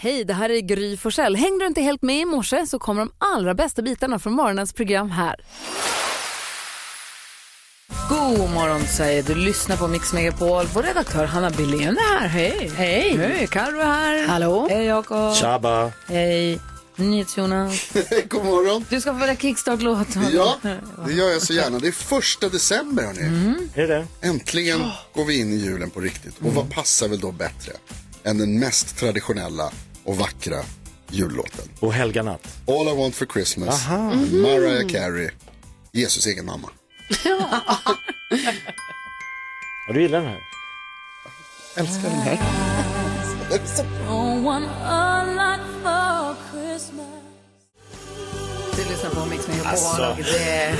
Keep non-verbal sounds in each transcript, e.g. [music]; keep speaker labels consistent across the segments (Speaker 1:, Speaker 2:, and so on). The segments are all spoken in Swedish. Speaker 1: Hej, det här är Gry Forssell. Hängde du inte helt med i morse så kommer de allra bästa bitarna från morgonens program här. God morgon säger du. Lyssnar på Mix Megapol. Vår redaktör Hanna Billén är här. Hej! Hej! Hej, Carro är här. Hallå! Hej, Jakob.
Speaker 2: Tjaba!
Speaker 1: Hej, NyhetsJonas. [laughs]
Speaker 3: God morgon.
Speaker 1: Du ska få välja kickstart-låten.
Speaker 3: Ja, det gör jag så gärna. Det är första december hörni.
Speaker 1: Mm.
Speaker 2: Är det
Speaker 3: Äntligen går vi in i julen på riktigt. Och vad passar väl då bättre än den mest traditionella och vackra jullåten?
Speaker 2: Och Helga Natt.
Speaker 3: All I want for Christmas, med
Speaker 1: Mm.
Speaker 3: Mariah Carey, Jesus egen mamma.
Speaker 2: Ja, du gillar den här?
Speaker 3: Älskar den här.
Speaker 1: Du lyssnar på Mix Megapol.
Speaker 2: Alltså.
Speaker 1: och Det...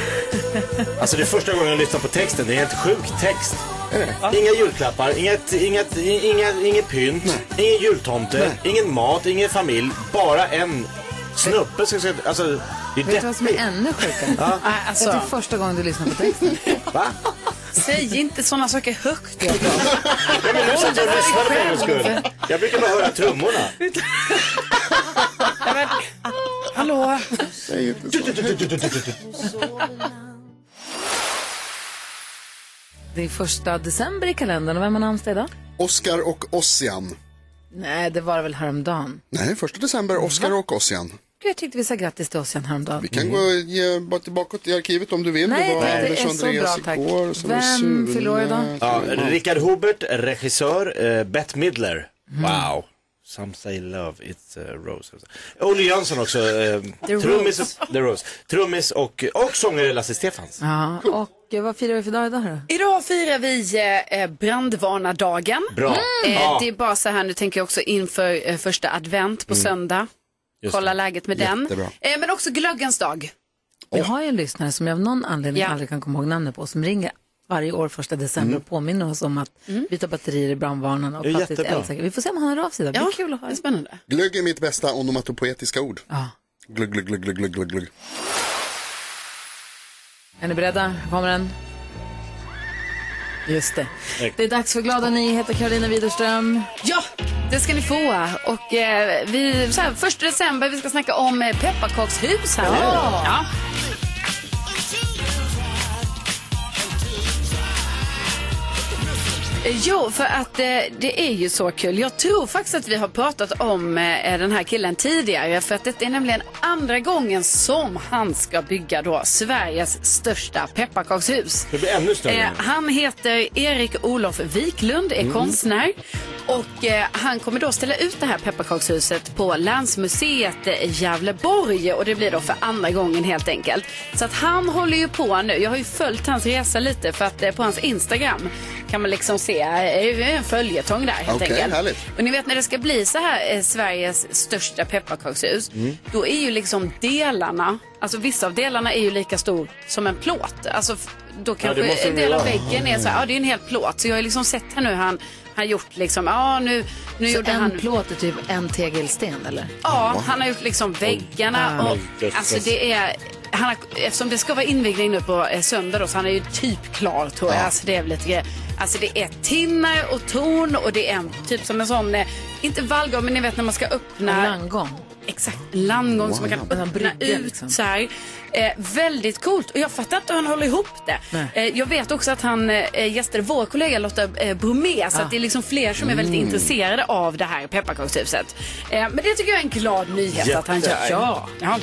Speaker 2: Alltså det är första gången jag lyssnar på texten. Det är helt sjuk text. Inga julklappar, inget, inget, inga, inget pynt, ingen jultomte, ingen mat, ingen familj. Bara en snubbe som ska... Alltså, det är
Speaker 1: Vet du vad som är
Speaker 2: deppigt.
Speaker 1: ännu sjukare?
Speaker 2: Ja.
Speaker 1: Det är
Speaker 4: Alltså,
Speaker 1: första gången du lyssnar på texten.
Speaker 2: Va?
Speaker 4: säg inte sådana saker högt. Jakob.
Speaker 2: Jag menar, du satt och lyssnade för en gångs skull. Jag brukar bara höra
Speaker 1: [laughs]
Speaker 2: trummorna.
Speaker 4: Nej, men, Hallå?
Speaker 3: Säg inte så.
Speaker 1: Det är första december i kalendern och vem har namnsdag idag?
Speaker 3: [laughs] Oscar och Ossian.
Speaker 1: Nej, det var det väl häromdagen.
Speaker 3: Nej, första december, Oscar och Ossian.
Speaker 1: Jag tyckte vi sa grattis till oss igen häromdagen.
Speaker 3: Vi kan gå ge, bara tillbaka i arkivet om du vill.
Speaker 1: Mm. Nej,
Speaker 3: var
Speaker 1: det är
Speaker 3: Anders
Speaker 1: så
Speaker 3: Andreas
Speaker 1: bra, tack.
Speaker 3: igår, sen var det
Speaker 1: Vem
Speaker 3: Sune.
Speaker 1: fyller år idag?
Speaker 2: Ja, Richard Hubert, regissör, eh, Bette Midler.
Speaker 4: Mm.
Speaker 2: Wow. Some say love, it's a rose. Olle Jönsson också, eh, trummis, och, The Rose. trummis och, och sångare Lasse Stefanz.
Speaker 1: Ja, och eh, vad firar vi för dag idag då?
Speaker 4: Idag firar vi eh, eh, brandvarnardagen.
Speaker 2: Bra.
Speaker 4: Eh,
Speaker 2: Ja,
Speaker 4: Det är bara så här, nu tänker jag också inför eh, första advent på söndag.
Speaker 2: just
Speaker 4: Kolla
Speaker 2: det.
Speaker 4: läget med den.
Speaker 3: Jättebra.
Speaker 4: Eh, Men också glöggens dag.
Speaker 1: Vi har ju en lyssnare som jag av någon anledning
Speaker 4: Ja.
Speaker 1: aldrig kan komma ihåg namnet på som ringer varje år första december och påminner oss om att byta batterier i brandvarnarna
Speaker 2: Mm.
Speaker 1: och
Speaker 2: Det är
Speaker 1: plötsligt
Speaker 2: jättebra.
Speaker 1: elsäker. Vi får se om han hör av sig idag. Det blir kul att höra.
Speaker 4: det är spännande.
Speaker 3: Glögg är mitt bästa onomatopoetiska ord.
Speaker 1: Ja.
Speaker 3: Glugg, glugg, glugg, glugg, glugg, glugg, glugg.
Speaker 1: Är ni beredda? Här kommer den. Just det. Det är dags för glada nyheter, Karolina Widerström.
Speaker 4: Ja, det ska ni få. Och eh, vi, så här, första december, vi ska snacka om eh, pepparkakshus här. Ja. ja. Eh, Jo, för att eh, det är ju så kul. Jag tror faktiskt att vi har pratat om eh, den här killen tidigare. För att det är nämligen andra gången som han ska bygga då Sveriges största pepparkakshus.
Speaker 2: Det blir ännu större.
Speaker 4: Eh, han heter Erik Olof Wiklund,
Speaker 3: Mm.
Speaker 4: är konstnär. Och eh, han kommer då ställa ut det här pepparkakshuset på Länsmuseet i Gävleborg. Och det blir då för andra gången helt enkelt. Så att han håller ju på nu. Jag har ju följt hans resa lite för att eh, på hans Instagram kan man liksom se, eh, det är en följetong där helt
Speaker 3: Okej,
Speaker 4: enkelt.
Speaker 3: härligt.
Speaker 4: Och ni vet när det ska bli så här eh, Sveriges största pepparkakshus,
Speaker 3: Mm.
Speaker 4: då är ju liksom delarna, alltså vissa av delarna är ju lika stor som en plåt. Alltså f- då kanske
Speaker 2: det måste
Speaker 4: en
Speaker 2: det
Speaker 4: del av
Speaker 2: vara.
Speaker 4: väggen är så här, ja det är en hel plåt. Så jag har ju liksom sett här nu han har gjort liksom, ja nu, nu
Speaker 1: Så
Speaker 4: gjorde
Speaker 1: en
Speaker 4: han...
Speaker 1: plåt är typ en tegelsten eller?
Speaker 4: Ja, han har gjort liksom väggarna och
Speaker 2: Jesus.
Speaker 4: alltså det är... Han har, eftersom det ska vara invigning nu på eh, söndag då, så han är ju typ klar tror jag. Alltså det är väl lite grejer. Alltså det är tinnar och torn och det är en, typ som en sån, eh, inte vallgård men ni vet när man ska öppna.
Speaker 1: En landgång.
Speaker 4: Exakt, landgång som man kan
Speaker 1: En
Speaker 4: öppna
Speaker 1: brygga,
Speaker 4: ut
Speaker 1: liksom.
Speaker 4: så här. Eh, väldigt coolt och jag fattar inte hur han håller ihop det.
Speaker 1: Nej.
Speaker 4: Eh, jag vet också att han eh, gästade vår kollega Lotta eh, Bromé så att det är liksom fler som är väldigt intresserade av det här pepparkakshuset. Eh, men det tycker jag är en glad nyhet att han gör.
Speaker 2: Jätte.
Speaker 4: Ja. Ja.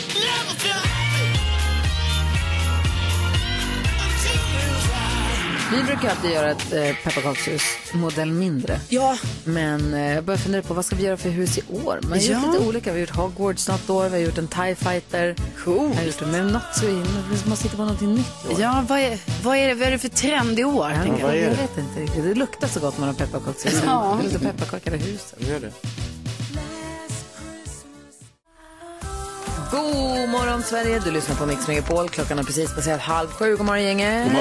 Speaker 1: Vi brukar alltid göra ett eh, pepparkakshus modell mindre.
Speaker 4: ja,
Speaker 1: Men eh, jag börjar fundera på vad ska vi göra för hus i år? Man har gjort
Speaker 4: Ja.
Speaker 1: lite olika. Vi har gjort Hogwarts något år, vi har gjort en TIE fighter.
Speaker 4: Coolt.
Speaker 1: Vi har gjort det med något så in. Vi måste hitta på någonting nytt i år.
Speaker 4: ja vad, är, vad, är det, vad är det för trend i år? tänker jag.
Speaker 2: vad är
Speaker 1: jag
Speaker 2: det?
Speaker 1: vet inte riktigt. Det luktar så gott med de pepparkakshus.
Speaker 4: Ja.
Speaker 1: Det luktar pepparkakor i huset.
Speaker 2: Nu är det.
Speaker 1: God morgon Sverige, du lyssnar på Mix Megapol. Klockan har precis passerat halv sju. God morgon gänget.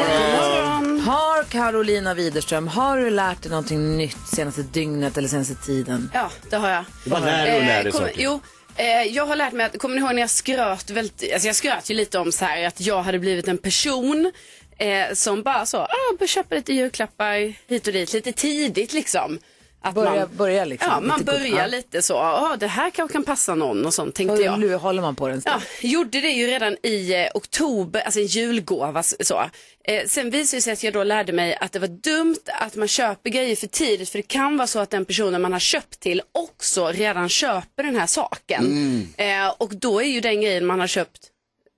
Speaker 1: Har Carolina Widerström, har du lärt dig någonting nytt senaste dygnet eller senaste tiden?
Speaker 4: Ja, det har jag.
Speaker 2: Mm. Du bara lär dig och lär dig
Speaker 4: kom-
Speaker 2: saker.
Speaker 4: Jo, eh, jag har lärt mig att, kommer ni ihåg när jag skröt väldigt, alltså jag skröt ju lite om så här att jag hade blivit en person eh, som bara så, ah, jag köpa lite julklappar hit och dit, lite tidigt liksom. Att
Speaker 1: Börja-
Speaker 4: man,
Speaker 1: börja liksom
Speaker 4: Ja,
Speaker 1: lite
Speaker 4: man
Speaker 1: gott,
Speaker 4: börjar
Speaker 1: ja.
Speaker 4: lite så. Ja, det här kanske kan passa någon och sånt tänkte
Speaker 1: Och
Speaker 4: jag.
Speaker 1: nu håller man på den.
Speaker 4: Ja, gjorde det ju redan i eh, oktober, alltså en julgåva s- så. Eh, sen visade det sig att jag då lärde mig att det var dumt att man köper grejer för tidigt för det kan vara så att den personen man har köpt till också redan köper den här saken.
Speaker 2: Mm.
Speaker 4: Eh, och då är ju den grejen man har köpt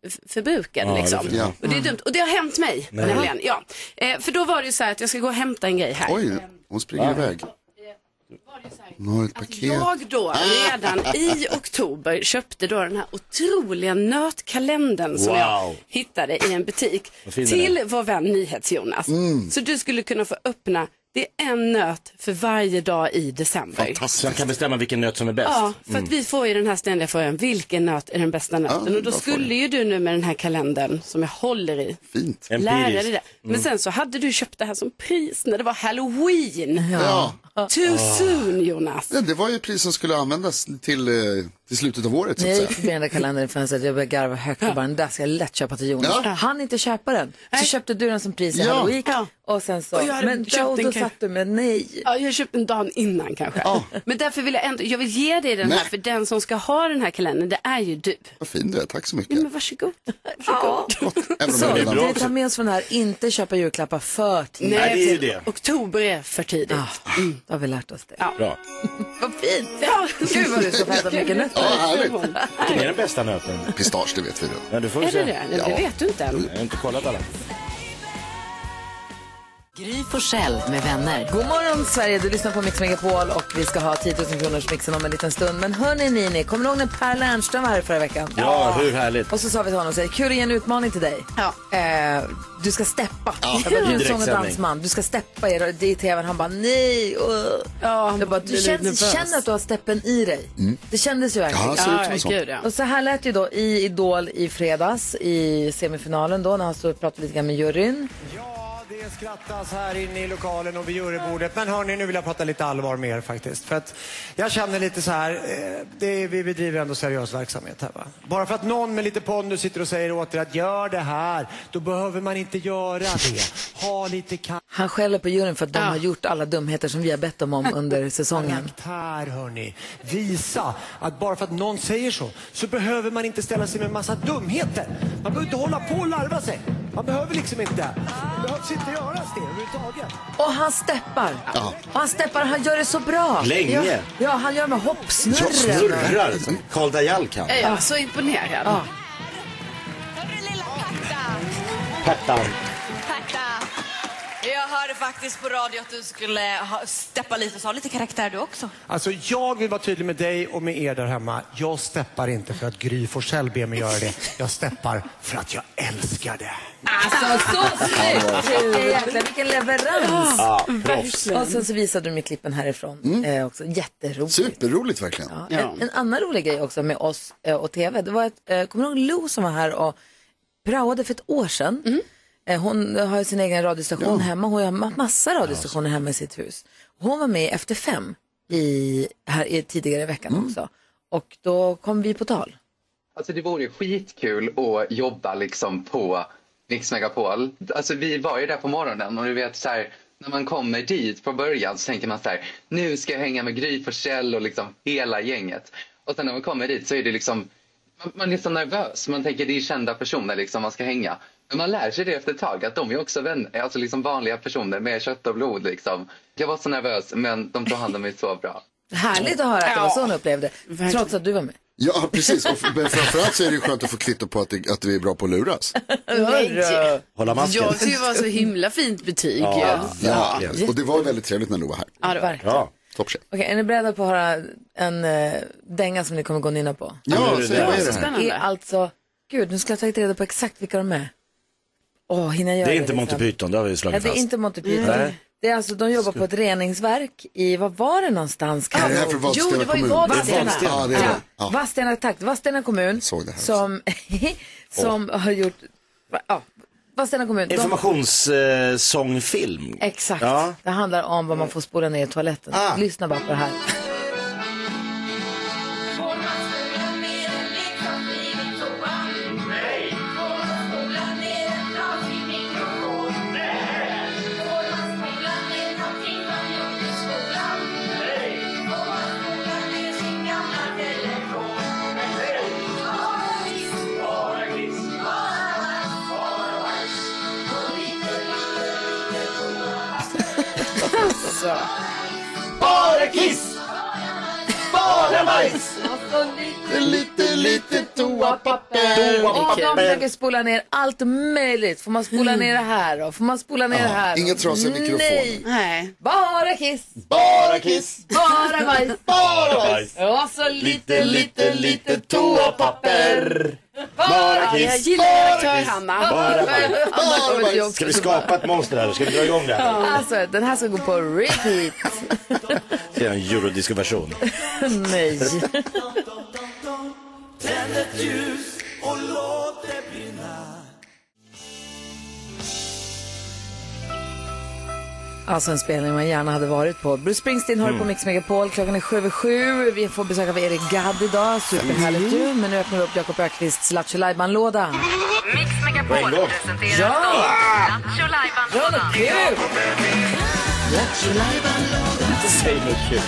Speaker 4: f- förbrukad
Speaker 2: Ja, det
Speaker 4: liksom.
Speaker 2: förstår jag.
Speaker 4: Och det är dumt. Och det har hänt mig nämligen. Ja. Eh, för då var det ju så här att jag ska gå och hämta en grej här.
Speaker 3: Oj, hon springer iväg. Hon har ett
Speaker 4: Att
Speaker 3: paket.
Speaker 4: Alltså, jag då redan i oktober köpte då den här otroliga nötkalendern som jag
Speaker 2: Wow.
Speaker 4: hittade i en butik
Speaker 2: fin den
Speaker 4: till
Speaker 2: är.
Speaker 4: vår vän NyhetsJonas.
Speaker 3: Mm.
Speaker 4: Så du skulle kunna få öppna, det är en nöt för varje dag i december.
Speaker 2: Så jag kan
Speaker 3: Fantastiskt. Mm.
Speaker 2: bestämma vilken nöt som är bäst.
Speaker 4: Ja, för att vi får ju den här ständiga frågan, vilken nöt är den bästa nöten?
Speaker 3: Ja,
Speaker 4: och då
Speaker 3: bra
Speaker 4: skulle
Speaker 3: fråga.
Speaker 4: ju du nu med den här kalendern som jag håller i,
Speaker 3: Fint.
Speaker 4: lära dig
Speaker 2: Empiriskt.
Speaker 4: det.
Speaker 3: Mm.
Speaker 4: Men sen så hade du köpt det här som pris när det var halloween.
Speaker 3: Ja.
Speaker 4: Too
Speaker 3: Ah.
Speaker 4: soon Jonas.
Speaker 3: Ja, det var ju ett pris som skulle användas till, eh, till slutet av året så
Speaker 1: När
Speaker 3: att säga.
Speaker 1: jag gick förbi den där kalendern fanns att jag började garva högt och bara den där ska jag lätt köpa till Jonas.
Speaker 3: Ja.
Speaker 1: Han inte köpa den. Så köpte du den som pris i
Speaker 3: Ja.
Speaker 1: Halloween
Speaker 4: Ja.
Speaker 1: och sen så,
Speaker 4: Och jag hade
Speaker 1: men
Speaker 4: köpt
Speaker 1: då,
Speaker 4: en
Speaker 1: då
Speaker 4: ka-
Speaker 1: satt du med nej.
Speaker 4: Ja, jag köpte en dagen innan kanske.
Speaker 3: Ja.
Speaker 4: Men därför vill jag ändå, jag vill ge dig den
Speaker 3: Nej.
Speaker 4: här, för den som ska ha den här kalendern, det är ju du.
Speaker 3: Vad fin du är, tack så
Speaker 4: Ja,
Speaker 3: mycket.
Speaker 4: men varsågod. varsågod.
Speaker 3: Även om
Speaker 1: Så,
Speaker 3: jag
Speaker 1: vi
Speaker 3: redan...
Speaker 1: kan ta med oss från det här, inte köpa julklappar för tidigt.
Speaker 2: Nej, det är ju
Speaker 4: till-
Speaker 2: det.
Speaker 4: Oktober är för tidigt.
Speaker 1: Mm, då har vi lärt oss det.
Speaker 2: Bra.
Speaker 1: Vad fint!
Speaker 4: Ja.
Speaker 1: Gud vad du ska få äta mycket
Speaker 3: Ja,
Speaker 1: nötter.
Speaker 3: härligt.
Speaker 2: Vilken är den bästa nöten?
Speaker 3: Pistage, det vet vi redan.
Speaker 2: Ja, du får vi
Speaker 4: Är
Speaker 2: se.
Speaker 4: det det? Nej,
Speaker 3: Ja.
Speaker 4: Det vet du inte än.
Speaker 2: Jag har inte kollat alla.
Speaker 5: Gry Forssell med vänner.
Speaker 1: God morgon Sverige, du lyssnar på Mix Megapol och vi ska ha 10 000 kronors mixen om en liten stund. Men hörni Nini, kommer du ihåg när Per Lernström var här förra veckan?
Speaker 2: Ja, hur härligt.
Speaker 1: Och så sa vi till honom, så här, kul att ge en utmaning till dig.
Speaker 4: Ja.
Speaker 1: Eh, du ska steppa.
Speaker 3: Ja.
Speaker 1: Jag bara, du är en sång och
Speaker 2: Direktsändning.
Speaker 1: dansman, du ska steppa i, det i tvn. Han bara, nej. Uh.
Speaker 4: Ja, han
Speaker 1: jag bara,
Speaker 4: blir
Speaker 1: du
Speaker 4: lite
Speaker 1: känns,
Speaker 4: nervös.
Speaker 1: känner att du har steppen i dig. Det kändes ju verkligen.
Speaker 3: Mm. Ja, ser ut som en
Speaker 4: Ja,
Speaker 3: sån.
Speaker 4: gud ja.
Speaker 1: Och så här lät ju då i Idol i fredags i semifinalen då när han stod och pratade lite grann med juryn.
Speaker 6: Ja, det skrattas här inne i lokalen och vid jurybordet. Men hörni, nu vill jag prata lite allvar med er faktiskt. För att jag känner lite så här, eh, det är, vi bedriver ändå seriös verksamhet här va. Bara för att någon med lite pondus sitter och säger åt er att gör det här, då behöver man inte göra det. Ha lite
Speaker 1: Han skäller på juryn för att de har gjort alla dumheter som vi har bett
Speaker 4: [laughs]
Speaker 1: dem om under säsongen.
Speaker 6: karaktär hörni. Visa att bara för att någon säger så, så behöver man inte ställa sig med massa dumheter. Man behöver inte hålla på och larva sig. Man behöver liksom inte. Det behövs inte göras det överhuvudtaget.
Speaker 1: Och han steppar.
Speaker 3: Ja.
Speaker 1: Och han steppar, han gör det så bra.
Speaker 2: Länge.
Speaker 1: Ja, ja han gör med hoppsnurren.
Speaker 3: Ja, snurr.
Speaker 2: Snurrar. Karl Dajal kan.
Speaker 4: Jag är så imponerad.
Speaker 1: Ja.
Speaker 7: Hörru lilla Pärta,
Speaker 2: Pattan.
Speaker 7: Pärta. Jag hörde faktiskt på radio att du skulle ha, steppa lite och så ha lite karaktär du också.
Speaker 6: Alltså jag vill vara tydlig med dig och med er där hemma. Jag steppar inte för att Gry Forssell ber mig göra det. Jag steppar för att jag älskar det.
Speaker 1: Alltså så snyggt! Jäklar, vilken leverans!
Speaker 2: Ja,
Speaker 4: Mm.
Speaker 2: proffs.
Speaker 1: Och sen så visade du mig klippen härifrån eh, också. Jätteroligt.
Speaker 3: Superroligt verkligen.
Speaker 1: Ja. En, en annan rolig grej också med oss eh, och tv, det var att, eh, kommer du ihåg Lo som var här och praoade för ett år sedan? Eh, hon har ju sin egen radiostation hemma, hon har ma- massa radiostationer hemma i sitt hus. Hon var med Efter fem i, här, i, tidigare i veckan också. Och då kom vi på tal.
Speaker 8: Alltså det vore ju skitkul att jobba liksom på Mix Megapol. Alltså vi var ju där på morgonen och du vet så här, när man kommer dit på början så tänker man så här, nu ska jag hänga med Gry Forssell och liksom hela gänget. Och sen när man kommer dit så är det liksom, man, man är så nervös, man tänker det är kända personer liksom man ska hänga. Men man lär sig det efter ett tag att de är också vänner, alltså liksom vanliga personer med kött och blod liksom. Jag var så nervös men de tog hand om mig så bra.
Speaker 1: Härligt att höra att det var så hon upplevde
Speaker 4: Verkligen.
Speaker 1: trots att du var med.
Speaker 3: Ja, precis. Och f- men framförallt så är det ju skönt att få kvitto på att, det, att vi är bra på att luras.
Speaker 1: Hörru.
Speaker 2: Hålla masken.
Speaker 4: Jag tycker det var så himla fint betyg. Ja,
Speaker 3: Ja. Och det var väldigt trevligt när du var här.
Speaker 4: ja det var det.
Speaker 2: Ja.
Speaker 3: Toppchef.
Speaker 1: Okej, är ni beredda på att höra en eh, dänga som ni kommer gå och nynna på?
Speaker 3: Ja, säg vad är det här?
Speaker 1: är
Speaker 4: Spännande.
Speaker 1: alltså, gud nu ska jag ta reda på exakt vilka de är. Åh, hinner jag göra
Speaker 2: Det är inte
Speaker 1: liksom?
Speaker 2: Monty Python, det har vi
Speaker 1: Nej,
Speaker 2: slagit
Speaker 1: det är
Speaker 2: fast.
Speaker 1: inte Monty Python.
Speaker 2: Nej.
Speaker 1: Det är alltså, de jobbar på ett reningsverk i, vad var det någonstans?
Speaker 3: Är
Speaker 1: Karo?
Speaker 3: det här för
Speaker 4: Jo, det
Speaker 3: Vadstena
Speaker 4: var ju
Speaker 3: kommun?
Speaker 4: Vadstena.
Speaker 2: Vadstena.
Speaker 3: Ja, det är det. Ja.
Speaker 1: Vadstena, tack. Vadstena kommun
Speaker 3: såg det här
Speaker 1: som, [laughs] som har gjort, va- ja, Vadstena kommun. De,
Speaker 2: Informationssångfilm.
Speaker 1: exakt,
Speaker 2: Ja.
Speaker 1: det handlar om vad man får spola ner i toaletten.
Speaker 2: Ah.
Speaker 1: Lyssna bara på
Speaker 2: [laughs]
Speaker 1: det här.
Speaker 9: Nej!
Speaker 4: alltså.
Speaker 2: Bara kiss! Bara bajs!
Speaker 3: Lite, lite toapapper.
Speaker 1: Och de försöker spola ner allt möjligt. Får man spola ner det här då? Får man spola ner det här? då?
Speaker 3: inget trasiga mikrofoner.
Speaker 1: Nej,
Speaker 4: Nej.
Speaker 1: bara kiss,
Speaker 2: Bara kiss!
Speaker 1: bara bajs.
Speaker 2: Bara bajs!
Speaker 1: Och så lite, lite, lite
Speaker 2: toapapper! Bara
Speaker 4: Ja, jag
Speaker 2: kiss!
Speaker 4: gillar redaktör Hanna.
Speaker 2: Bara bajs!
Speaker 1: Bara bajs.
Speaker 2: Ska vi skapa ett monster här? Ska vi dra igång det här?
Speaker 1: Alltså, den här ska gå på repeat.
Speaker 2: Det är en eurodisco-version.
Speaker 1: Nej. Alltså en spelning man gärna hade varit på. Bruce Springsteen har mm. på Mix Megapol. Klockan är sju över sju. Vi får besök av Erik Gadd idag. Superhärligt ju. Men nu öppnar vi upp Jakob Ökvists Lattjo Lajban-låda.
Speaker 9: Mix
Speaker 2: På
Speaker 9: Megapol
Speaker 2: en gång.
Speaker 9: presenterar
Speaker 1: Ja!
Speaker 9: Nacho Lajban-lådan.
Speaker 1: Kul!
Speaker 2: Säg något kul.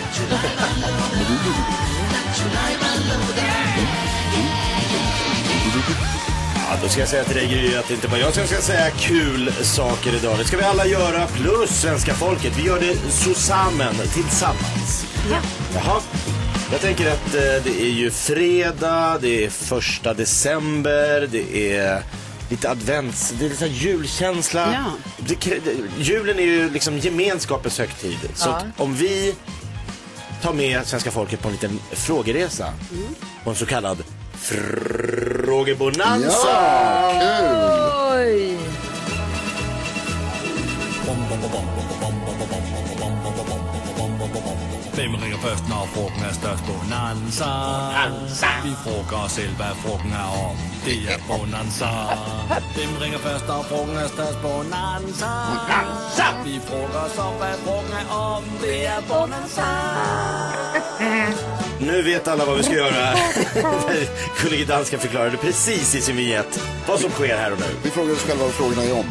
Speaker 2: Ja, då ska jag säga till dig Gry att det inte bara jag som ska säga kul saker idag. Det ska vi alla göra, plus svenska folket. Vi gör det zusammen, tillsammans. Jaha. Jag tänker att eh, det är ju fredag, det är första december, det är lite advents, det är lite så här julkänsla.
Speaker 4: Ja.
Speaker 2: Det, krä- det- julen är ju liksom gemenskapens högtid. Så
Speaker 1: Ja.
Speaker 2: att om vi tar med svenska folket på en liten frågeresa, på en så kallad frågebonanza.
Speaker 1: Oj!
Speaker 10: Hvem ringer først, når frugten er størst? Bonanza. Vi frugger os selv, hvad frugten er om. Det er Bonanza. Hvem ringer først, når frugten er størst? Bonanza. Vi frugger os om, hvad frugten er om. Det er Bonanza.
Speaker 2: Nu vet alla vad vi ska göra. [laughs] Gullige dansken förklarade precis i sin vignett vad som sker här och nu.
Speaker 3: Vi frågar oss själva vad frågorna är om.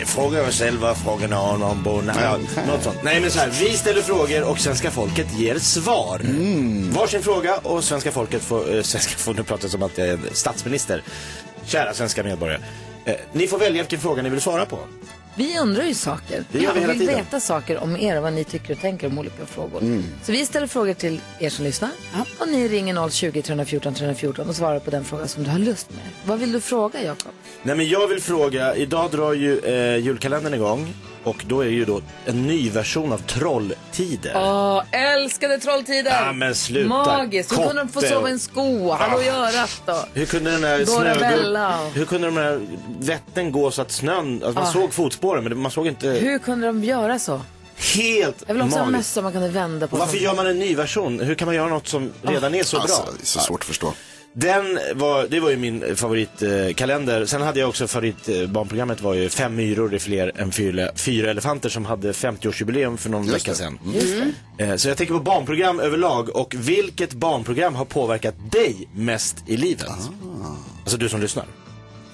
Speaker 2: Eh, Fråga oss själva, frågorna om om bona... Ja, något sånt. Nej men så här, vi ställer frågor och svenska folket ger svar. Varsin fråga och svenska folket får... Eh, svenska [laughs] får nu pratar jag som att jag är en statsminister. Kära svenska medborgare. Eh, ni får välja vilken fråga ni vill svara på.
Speaker 1: Vi undrar ju saker.
Speaker 2: Det gör vi
Speaker 1: och
Speaker 2: hela
Speaker 1: vill
Speaker 2: tiden. Mm.
Speaker 1: veta saker om er och vad ni tycker och tänker om olika frågor. Så vi ställer frågor till er som lyssnar. Och ni ringer 020 314 314 och svarar på den fråga som du har lust med. Vad vill du fråga, Jakob?
Speaker 2: Nej men jag vill fråga, idag drar ju eh, julkalendern igång och då är ju då en ny version av Trolltider.
Speaker 1: Åh, älskade Trolltider!
Speaker 2: Ja, men sluta.
Speaker 1: Magiskt! Hur kunde de få
Speaker 2: Kotte
Speaker 1: sova
Speaker 2: och- Ah.
Speaker 1: i en sko? Hallå i örat då!
Speaker 2: Hur kunde den här
Speaker 1: Dorabella.
Speaker 2: snögubben- Hur kunde de här vätten gå så att snön, alltså man
Speaker 1: Ah.
Speaker 2: såg fotspåren men man såg inte
Speaker 1: Hur kunde de göra så?
Speaker 2: helt
Speaker 1: Jag vill också ha en
Speaker 2: magiskt.
Speaker 1: mössa som man kunde vända på.
Speaker 2: Varför gör man en ny version? Hur kan man göra något som redan är så bra?
Speaker 3: Alltså, det är så svårt att förstå.
Speaker 2: Den var, det var ju min favoritkalender. Sen hade jag också favoritbarnprogrammet var ju Fem myror är fler än fyra, fyra elefanter som hade 50-årsjubileum för någon vecka
Speaker 3: det. Mm.
Speaker 2: sedan. Eh, Så jag tänker på barnprogram överlag och vilket barnprogram har påverkat dig mest i livet?
Speaker 3: Ah.
Speaker 2: Alltså du som lyssnar.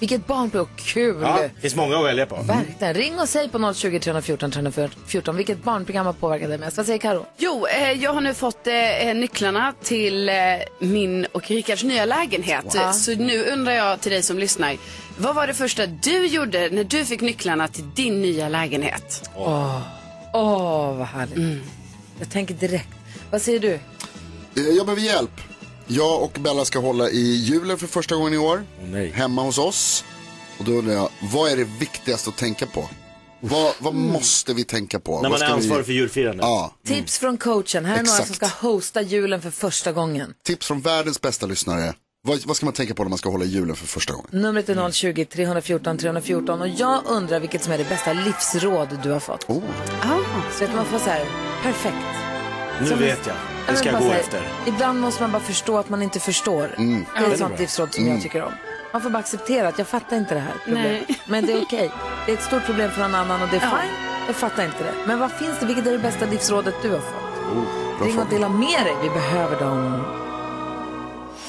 Speaker 1: Vilket barn blev kul!
Speaker 2: Ja, det finns många att välja på.
Speaker 1: Verkligen. Ring och säg på 020 314 314 vilket barnprogram har påverkat dig mest. Vad säger Karo?
Speaker 4: Jo, eh, jag har nu fått eh, nycklarna till eh, min och Rickards nya lägenhet.
Speaker 1: Wow.
Speaker 4: Så nu undrar jag till dig som lyssnar. Vad var det första du gjorde när du fick nycklarna till din nya lägenhet?
Speaker 1: Åh, vad härligt.
Speaker 3: Mm.
Speaker 1: Jag tänker direkt. Vad säger du?
Speaker 3: Eh, Jag behöver hjälp. Jag och Bella ska hålla i julen för första gången i år.
Speaker 2: nej.
Speaker 3: Hemma hos oss. Och då undrar jag, vad är det viktigaste att tänka på? Vad, vad måste vi tänka på?
Speaker 2: När
Speaker 3: Vad
Speaker 2: man är
Speaker 3: ska vi-
Speaker 2: ansvarig för julfirande.
Speaker 3: Ja,
Speaker 1: Tips från coachen. Här är några som ska
Speaker 3: Mm. Exakt.
Speaker 1: hosta julen för första gången.
Speaker 3: tips från världens bästa lyssnare. Vad, vad ska man tänka på när man ska hålla i julen för första gången?
Speaker 1: Numret är 020 314 314 och jag undrar vilket som är det bästa livsråd du har fått.
Speaker 3: Oh.
Speaker 1: Så att man får så här, perfekt.
Speaker 2: Nu
Speaker 1: Som-
Speaker 2: vet jag.
Speaker 1: Ja,
Speaker 2: Det ska
Speaker 1: men
Speaker 2: jag
Speaker 1: bara
Speaker 2: gå
Speaker 1: så här,
Speaker 2: efter. Mm.
Speaker 1: Ibland måste man bara förstå att man inte förstår. Det är ett sånt livsråd som jag tycker om. Man får bara acceptera att jag fattar inte det här problemet.
Speaker 4: Nej.
Speaker 1: Men det är okej. Det är ett stort problem för någon annan och det är fine. Jag fattar inte det. Men vad finns det? Vilket är det bästa livsrådet du har fått?
Speaker 2: Oh,
Speaker 1: Ring och dela med dig. Vi behöver dem. [laughs]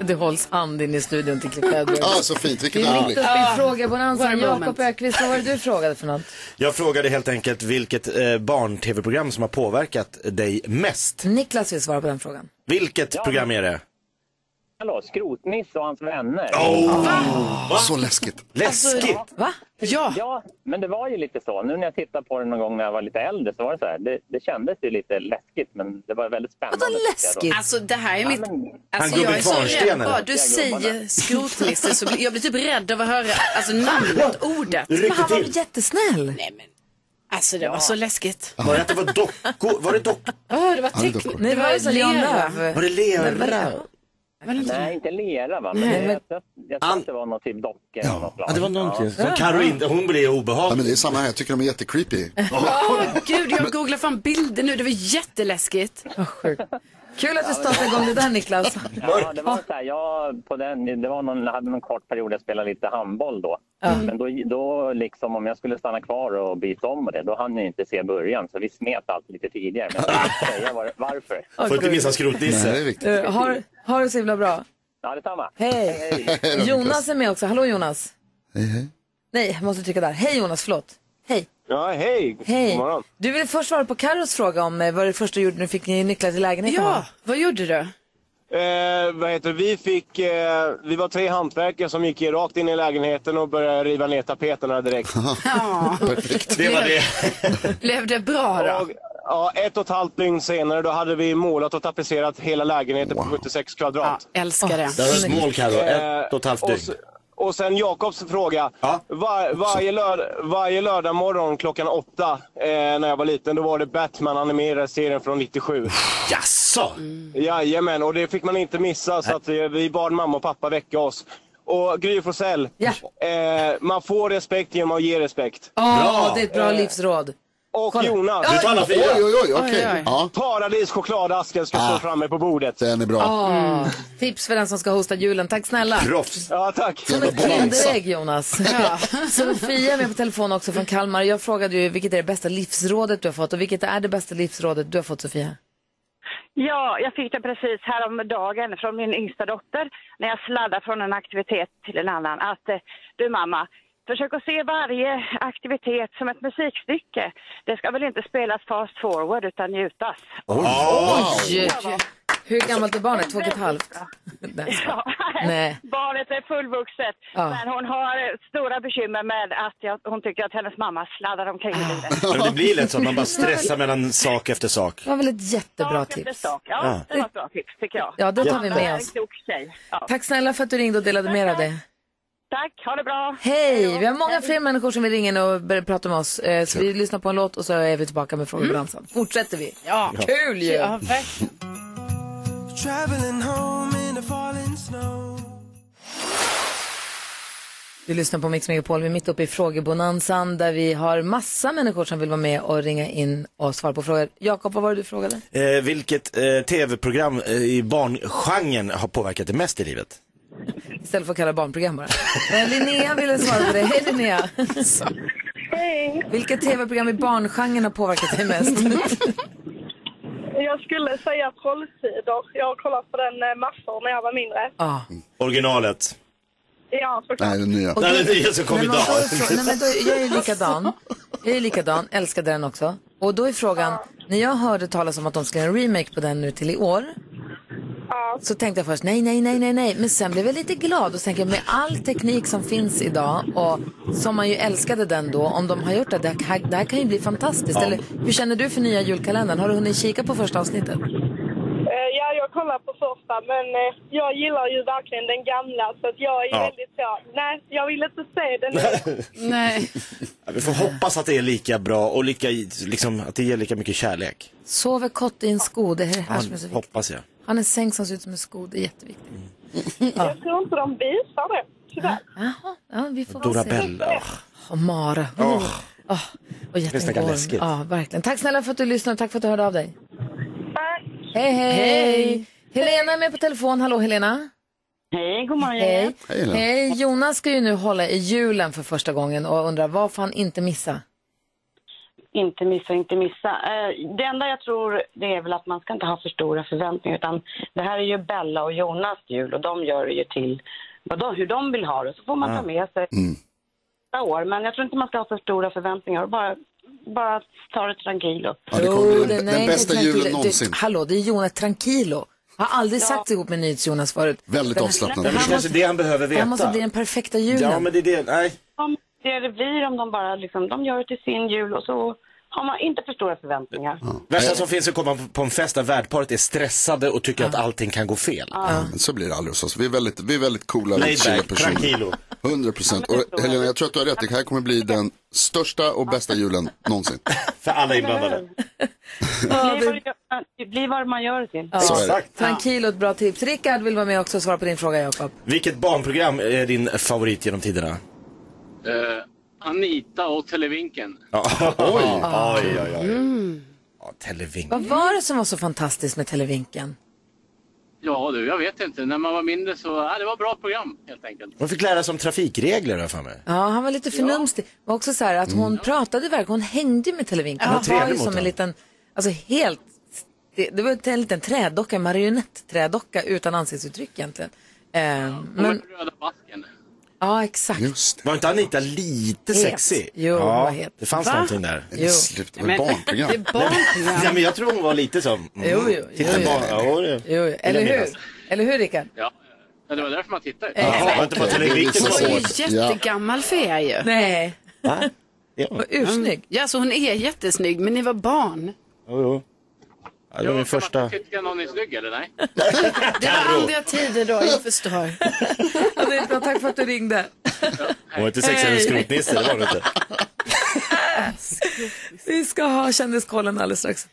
Speaker 1: Det hålls hand in i studion till Cliff Edwards.
Speaker 3: Ah, så fint,
Speaker 1: Vi
Speaker 3: vilket
Speaker 1: är mitt
Speaker 3: ögonblick.
Speaker 1: uppe i
Speaker 4: what a
Speaker 1: frågebonanzan. Jakob
Speaker 4: moment.
Speaker 1: Ökvist, vad var det du frågade för något?
Speaker 2: Jag frågade helt enkelt vilket eh, barn-tv-program som har påverkat dig mest.
Speaker 1: Niklas vill svara på den frågan.
Speaker 2: Vilket program är det?
Speaker 11: kalas, Skrotnisse och hans vänner.
Speaker 3: Så läskigt.
Speaker 1: Alltså, va?
Speaker 11: Ja. ja, men det var ju lite så. Nu när jag tittar på den någon gång när jag var lite äldre så var det så här. Det, det kändes ju lite läskigt, men det var väldigt spännande. Vadå
Speaker 4: Alltså det här är mitt... Alltså,
Speaker 11: Han
Speaker 4: jag
Speaker 11: gubben
Speaker 4: är så
Speaker 11: Kvarnsten,
Speaker 4: rädd
Speaker 11: eller?
Speaker 4: bara du
Speaker 11: Jag
Speaker 4: säger skrotnisse så blir- jag blir typ rädd av att höra alltså, namnet, ordet.
Speaker 2: Du rycker Men han var till. väl
Speaker 1: jättesnäll?
Speaker 4: Nej men, alltså det var så läskigt.
Speaker 2: Var det att det var dockor? Var det dockor?
Speaker 4: Åh, det var
Speaker 2: Ja, det är dockor.
Speaker 4: tecknat.
Speaker 1: Nej, det var så Jan Lööf.
Speaker 2: Var det lera?
Speaker 11: Nej, inte lera va? Men
Speaker 2: Nej,
Speaker 11: det,
Speaker 2: men-
Speaker 11: jag tror- jag tror att det var någon typ docka eller något slag.
Speaker 2: hon blir obehaglig.
Speaker 3: Ja, men det är samma här, jag tycker de är jättecreepy.
Speaker 4: Åh gud, jag googlar fram bilder nu. Det var jätteläskigt.
Speaker 1: Kul att du startade igång det där Niklas.
Speaker 11: Ja, det var så här, jag, på den, det var någon, jag hade någon kort period jag spelade lite handboll då. Men då, då liksom, om jag skulle stanna kvar och byta om och det, då hann jag inte se början. Så vi smet allt lite tidigare. Men jag kan inte säga var, varför.
Speaker 2: Får inte missa skrotnisse.
Speaker 3: Nej, det är viktigt.
Speaker 1: Eh, har, har det så himla bra.
Speaker 11: Ja, detsamma.
Speaker 1: Hej. Jonas är med också. Hallå Jonas.
Speaker 3: Hej, hej.
Speaker 1: Nej, jag måste trycka där. Hej Jonas, förlåt. Hej.
Speaker 12: Ja, hej.
Speaker 1: Hej.
Speaker 12: God morgon.
Speaker 1: Du ville först svara på Carros fråga om eh, vad det första du gjorde när du fick nycklar till lägenheten
Speaker 12: Ja,
Speaker 4: vad gjorde du?
Speaker 12: Eh, vad heter det? vi, fick, eh, vi var tre hantverkare som gick rakt in i lägenheten och började riva ner tapeterna
Speaker 2: [laughs]
Speaker 12: direkt.
Speaker 2: Det var det.
Speaker 4: Blev det bra då?
Speaker 12: Ja, ett och ett halvt dygn senare då hade vi målat och tapetserat hela lägenheten på 76 kvadrat.
Speaker 4: älskar det.
Speaker 2: Det var small, Carro. Ett och ett halvt
Speaker 12: Eh,
Speaker 2: dygn.
Speaker 12: och s- Och sen Jakobs fråga. Var, varje, lör, varje lördag morgon klockan åtta eh, när jag var liten, då var det Batman animerade serien från
Speaker 2: [laughs]
Speaker 12: 97.
Speaker 2: Jaså?
Speaker 12: Jajamän, och det fick man inte missa så att eh, vi bad mamma och pappa väcka oss. Och Gry Forssell, eh, man får respekt genom att ge respekt.
Speaker 1: Ja, det är ett bra
Speaker 12: Eh,
Speaker 1: livsråd.
Speaker 12: Och
Speaker 1: Kolla.
Speaker 12: Jonas.
Speaker 1: Du tar alla fyra. Oj, oj, oj, okej. Ja.
Speaker 12: Paradis chokladasken ska stå framme på bordet.
Speaker 3: Den är
Speaker 1: Ah, Tips för den som ska hosta julen. Tack snälla.
Speaker 12: Ja, tack.
Speaker 1: Som ett kinderägg Jonas. Ja. [laughs] Sofia är med på telefon också från Kalmar. Jag frågade ju vilket är det bästa livsrådet du har fått och vilket är det bästa livsrådet du har fått Sofia?
Speaker 9: Ja, jag fick det precis häromdagen från min yngsta dotter när jag sladdade från en aktivitet till en annan. Att eh, du mamma, försök att se varje aktivitet som ett musikstycke. Det ska väl inte spelas fast forward utan njutas.
Speaker 1: Oj! Hur gammalt är barnet? Två och ett halvt? Nej. Nej.
Speaker 9: Barnet är fullvuxet,
Speaker 1: Ja.
Speaker 9: men hon har eh, stora bekymmer med att jag, hon tycker att hennes mamma sladdar omkring i livet.
Speaker 2: Men det blir lätt så att man bara stressar mellan sak efter sak.
Speaker 1: Det var väl ett jättebra
Speaker 9: Sak efter
Speaker 1: tips.
Speaker 9: sak. Ja,
Speaker 2: Ja.
Speaker 9: det var ett bra tips tycker jag.
Speaker 1: Ja, det tar vi
Speaker 9: Anna
Speaker 1: med
Speaker 9: är en
Speaker 1: oss.
Speaker 9: klok tjej. Ja.
Speaker 1: Tack snälla för att du ringde och delade med dig av det.
Speaker 9: Tack, ha det bra.
Speaker 1: Hej! Vi har många fler människor som vill ringa in och börja prata med oss. Eh, Så vi lyssnar på en låt och så är vi tillbaka med frågor och dansa. Fortsätter vi.
Speaker 4: Ja.
Speaker 1: Kul ju!
Speaker 4: Ja,
Speaker 1: Du lyssnar på Mix Megapol. Vi är mitt uppe i frågebonanzan där vi har massa människor som vill vara med och ringa in och svara på frågor. Jakob, vad var det du frågade?
Speaker 2: Eh, vilket eh, tv-program eh, i barngenren har påverkat dig mest i livet?
Speaker 1: Istället för att kalla barnprogram bara. Eh, Linnea ville svara på det. Hej Linnea!
Speaker 13: Hej!
Speaker 1: Vilket tv-program i barngenren har påverkat dig mest?
Speaker 13: Jag skulle säga Trollsidor. Jag har kollat på den eh, massor när jag var mindre.
Speaker 1: Ah.
Speaker 2: Originalet.
Speaker 13: Ja, såklart.
Speaker 3: Nej, den nya.
Speaker 1: Och
Speaker 2: Nej,
Speaker 1: då-
Speaker 2: det är det som kom
Speaker 1: Nej, men
Speaker 2: idag.
Speaker 1: då är frå- Nej, men då, jag är ju likadan. Jag är likadan, älskade den också. Och då är frågan, när jag hörde talas om att de skulle göra en remake på den nu till i år. Så tänkte jag först nej, nej, nej, nej, nej. Men sen blev jag lite glad och så tänker jag med all teknik som finns idag och som man ju älskade den då, om de har gjort det, det här, det här kan ju bli fantastiskt.
Speaker 13: Ja.
Speaker 1: Eller hur känner du för nya julkalendern? Har du hunnit kika på första avsnittet?
Speaker 13: Eh, Ja, jag kollar på första, men eh, jag gillar ju verkligen den gamla. Så att jag är
Speaker 2: Ja.
Speaker 13: väldigt så... Nej, jag vill inte se den nu.
Speaker 9: [laughs]
Speaker 4: Nej.
Speaker 2: Ja, Vi får hoppas att det är lika bra och lika, liksom, att det ger lika mycket kärlek.
Speaker 1: Sover kott i en sko, det är det här som är så viktigt.
Speaker 2: Hoppas jag.
Speaker 1: Han har en säng som ser ut som en sko, det är jätteviktigt.
Speaker 13: Jag tror inte de visar det, tyvärr.
Speaker 1: Jaha, ja, vi får
Speaker 2: Dora
Speaker 1: väl se.
Speaker 2: Bella.
Speaker 1: Och Mara. Mm.
Speaker 2: Åh.
Speaker 1: Åh, Och
Speaker 2: Det är nästan
Speaker 1: jättegorm.
Speaker 2: läskigt.
Speaker 1: Ja, verkligen. Tack snälla för att du lyssnade och tack för att du hörde av dig. Hej, hej.
Speaker 14: Hej.
Speaker 1: Helena är med på telefon. Hallå Helena.
Speaker 14: Hej, god morgon.
Speaker 1: Hej.
Speaker 14: Hej, Helena.
Speaker 1: Hej. Jonas ska ju nu hålla i julen för första gången och undrar vad får han inte missa?
Speaker 14: Inte missa, inte missa. Eh, Det enda jag tror det är väl att man ska inte ha för stora förväntningar utan det här är ju Bella och Jonas jul och de gör det ju till vad de, hur de vill ha det. Så får man
Speaker 13: Ja.
Speaker 14: ta med sig
Speaker 15: Mm.
Speaker 14: nästa år. Men jag tror inte man ska ha för stora förväntningar och bara, bara ta det tranquilo.
Speaker 1: Jo, det- nej, det Oh, är Ah, tranquilo.
Speaker 14: någonsin.
Speaker 1: Det, hallå, det är Jonas Tranquilo. Har aldrig satt ihop med NyhetsJonas förut.
Speaker 3: Väldigt
Speaker 1: Den här-
Speaker 3: avslappnad.
Speaker 2: Nej, men det kanske är det han behöver
Speaker 1: Det här
Speaker 2: veta.
Speaker 1: måste bli den perfekta julen.
Speaker 2: Ja, men det är det. Nej.
Speaker 14: Om det är revir, om de bara liksom, de gör det till sin jul och så har man inte för stora förväntningar.
Speaker 2: Värsta som finns är att komma på en fest där värdparet är stressade och tycker att allting kan gå fel.
Speaker 3: Ja, men så blir det aldrig hos oss. Vi är väldigt, vi är väldigt coola,
Speaker 2: Laid
Speaker 3: väldigt chilla
Speaker 2: back, tranquilo.
Speaker 3: personer. 100 procent. Och Helena, jag tror att du har rätt. Det här kommer bli den största och bästa julen någonsin.
Speaker 2: För alla inblandade.
Speaker 14: Det blir vad det gör- Det blir vad man gör det till.
Speaker 1: Ja.
Speaker 2: Så är det.
Speaker 1: Tranquilo, ett bra tips. Rickard vill vara med också och svara på din fråga, Jakob.
Speaker 2: Vilket barnprogram är din favorit genom tiderna?
Speaker 16: Eh, Anita och Televinken.
Speaker 2: Ja.
Speaker 16: Oj.
Speaker 2: oj, oj, oj.
Speaker 1: Mm.
Speaker 2: Ja, Televinken.
Speaker 1: Vad var det som var så fantastiskt med Televinken?
Speaker 16: Ja du, jag vet inte. När man var mindre så, ja, det var bra program helt enkelt.
Speaker 2: De fick lära sig om trafikregler här för mig.
Speaker 1: Ja, han var lite förnumstig. Det var också så här att hon pratade verkligen, hon hängde med Televinken.
Speaker 2: Mm. Ja.
Speaker 1: Hon var ju
Speaker 2: Trevlig mot
Speaker 1: som en
Speaker 2: honom.
Speaker 1: liten, alltså helt, det, det var en liten trädocka, en marionett-trädocka utan ansiktsuttryck egentligen. Eh, men,
Speaker 16: Röda basken.
Speaker 1: ja, exakt.
Speaker 2: Var inte Anita lite
Speaker 1: Het.
Speaker 2: sexig?
Speaker 1: Jo, hon var
Speaker 2: ja,
Speaker 1: het.
Speaker 2: det fanns
Speaker 1: Va?
Speaker 2: någonting där.
Speaker 1: Men Jo. sluta, det var ett Men- barnprogram. det är barnprogram.
Speaker 2: Nej, men jag tror hon var lite som... Mm,
Speaker 1: Jo, jo, jo,
Speaker 2: titta
Speaker 1: jo.
Speaker 2: barn- ja, det-
Speaker 1: Jo,
Speaker 2: vill jag
Speaker 1: eller hur?
Speaker 2: minnas.
Speaker 1: Eller hur, Rickard?
Speaker 16: Ja, ja, det var därför man tittade.
Speaker 2: Jaha,
Speaker 1: Exakt.
Speaker 2: var inte bara Televinken
Speaker 4: Hon
Speaker 2: som
Speaker 4: var ju
Speaker 2: såg.
Speaker 4: jättegammal för er ju.
Speaker 1: Nej.
Speaker 2: Va? Ja.
Speaker 4: Vad ursnygg. Ja, så hon är jättesnygg, men ni var barn.
Speaker 2: Jo, jo. Ja, det var min första...
Speaker 16: Tycker någon är snygg eller nej?
Speaker 4: Det var andra tider då, jag förstår.
Speaker 1: Ja, det är bra. Tack för att du ringde.
Speaker 2: Hon var inte sexig eller
Speaker 1: Hej.
Speaker 2: skrotnisse, det var hon inte.
Speaker 1: Vi ska ha kändiskollen alldeles strax.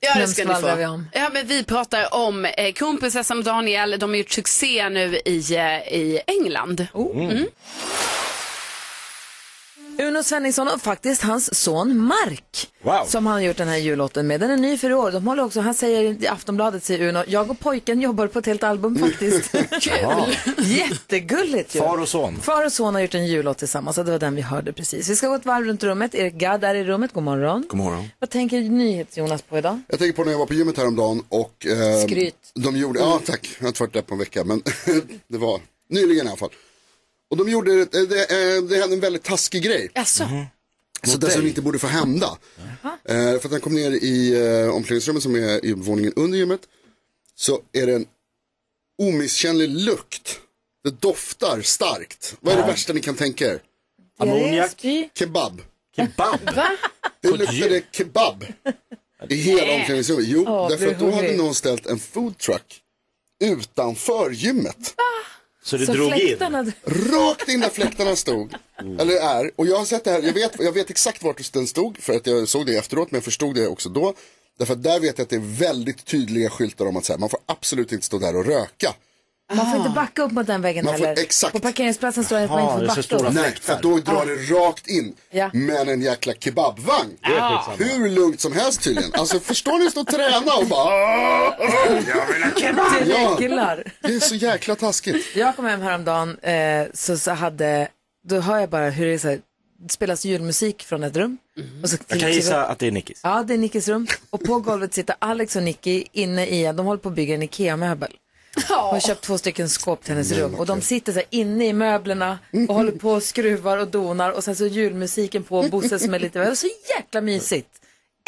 Speaker 4: Ja, det
Speaker 1: Vem
Speaker 4: ska ni
Speaker 1: skvallrar
Speaker 4: få.
Speaker 1: vi om?
Speaker 4: Ja, men vi pratar om eh, kronprinsessan och Daniel. De har gjort succé nu i, eh, i England. Mm.
Speaker 1: Uno Svenningsson och faktiskt hans son Mark.
Speaker 2: Wow.
Speaker 1: Som han har gjort den här jullåten med. Den är ny för i år. De håller också, han säger i Aftonbladet, säger Uno, jag och pojken jobbar på ett helt
Speaker 2: [laughs]
Speaker 1: album faktiskt. Kul! Jättegulligt ju.
Speaker 2: Far och son.
Speaker 1: Far och son har gjort en jullåt tillsammans och det var den vi hörde precis. Vi ska gå ett varv runt rummet. Erik Gadd är i rummet, god morgon.
Speaker 3: God morgon.
Speaker 1: Vad tänker NyhetsJonas på idag?
Speaker 3: Jag tänker på när jag var på gymmet häromdagen och... Eh,
Speaker 1: Skryt.
Speaker 3: De gjorde, ja tack, jag har inte varit där på en vecka men [laughs] det var nyligen i alla fall. Och de gjorde, eh, det, eh, det hände en väldigt taskig grej.
Speaker 4: Jaså?
Speaker 3: Så det som inte borde få hända. Eh, för att han kom ner i eh, omklädningsrummet som är i våningen under gymmet. Så är det en omisskännlig lukt. Det doftar starkt. Vad är det värsta ni kan tänka er?
Speaker 2: Ammoniak.
Speaker 3: Kebab.
Speaker 2: Kebab?
Speaker 4: Va?
Speaker 3: Det luktade kebab. I hela
Speaker 2: Nej.
Speaker 3: omklädningsrummet. Jo,
Speaker 2: Åh,
Speaker 3: därför
Speaker 2: blir
Speaker 3: att då hade
Speaker 2: hungrig.
Speaker 3: någon ställt en foodtruck utanför gymmet.
Speaker 2: Så det Så drog in? fläktarna-
Speaker 3: Rakt in där fläktarna stod. Eller är. Och jag har sett det här. Jag vet, jag vet exakt vart den stod. För att jag såg det efteråt. Men jag förstod det också då. Därför att där vet jag att det är väldigt tydliga skyltar om att så här, man får absolut inte stå där och röka.
Speaker 1: Man får inte backa upp mot den väggen
Speaker 3: Man får-
Speaker 1: heller. Exakt. På parkeringsplatsen står det att man inte får backa upp.
Speaker 3: Nej, för då drar det
Speaker 2: Ah.
Speaker 3: rakt in.
Speaker 1: Ja.
Speaker 3: Men en jäkla kebabvagn.
Speaker 1: Det är skitsamma.
Speaker 3: Hur lugnt som helst tydligen. Alltså förstår ni att stå och träna och bara... Jag vill ha kebab!
Speaker 1: [laughs] Det reglar.
Speaker 3: det är så jäkla taskigt.
Speaker 1: Jag kom hem häromdagen eh, så, så hade, då hör jag bara hur det är så här, det spelas julmusik från ett rum. Och så
Speaker 2: Mhm. Jag kan gissa att det är Nickis.
Speaker 1: Ja, det är Nickis rum. Och på golvet sitter Alex och Nicky inne i, de håller på att bygga en IKEA-möbel. De har köpt två stycken skåp till hennes
Speaker 2: Mm,
Speaker 1: rum och de sitter så här inne i möblerna och håller på och skruvar och donar och sen så är julmusiken på och Bosse som är lite, det var så jäkla mysigt.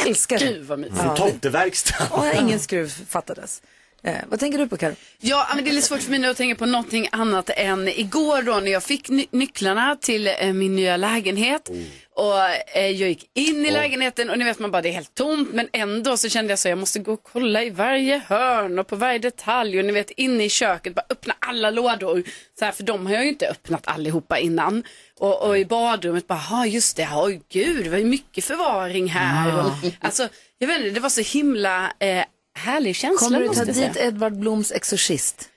Speaker 1: Älskar det.
Speaker 4: Gud vad mysigt.
Speaker 2: Från tomteverkstan.
Speaker 1: Och ingen skruv fattades. Eh, vad tänker du på Karo?
Speaker 4: Ja, men det är lite svårt för mig nu att tänka på någonting annat än igår då när jag fick ny- nycklarna till eh, min nya lägenhet. Och eh, jag gick in i lägenheten och ni vet man bara det är helt tomt men ändå så kände jag så jag måste gå och kolla i varje hörn och på varje detalj och ni vet inne i köket bara öppna alla lådor. Så här, för de har jag ju inte öppnat allihopa innan. Och, och i badrummet bara, ja just det, oj gud, det var ju mycket förvaring här.
Speaker 1: Ah.
Speaker 4: Och, alltså, jag vet inte, det var så himla eh, härlig känsla
Speaker 1: Kommer du
Speaker 4: måste
Speaker 1: ta
Speaker 4: jag
Speaker 1: dit
Speaker 4: säga.
Speaker 1: Edvard Bloms exorcist?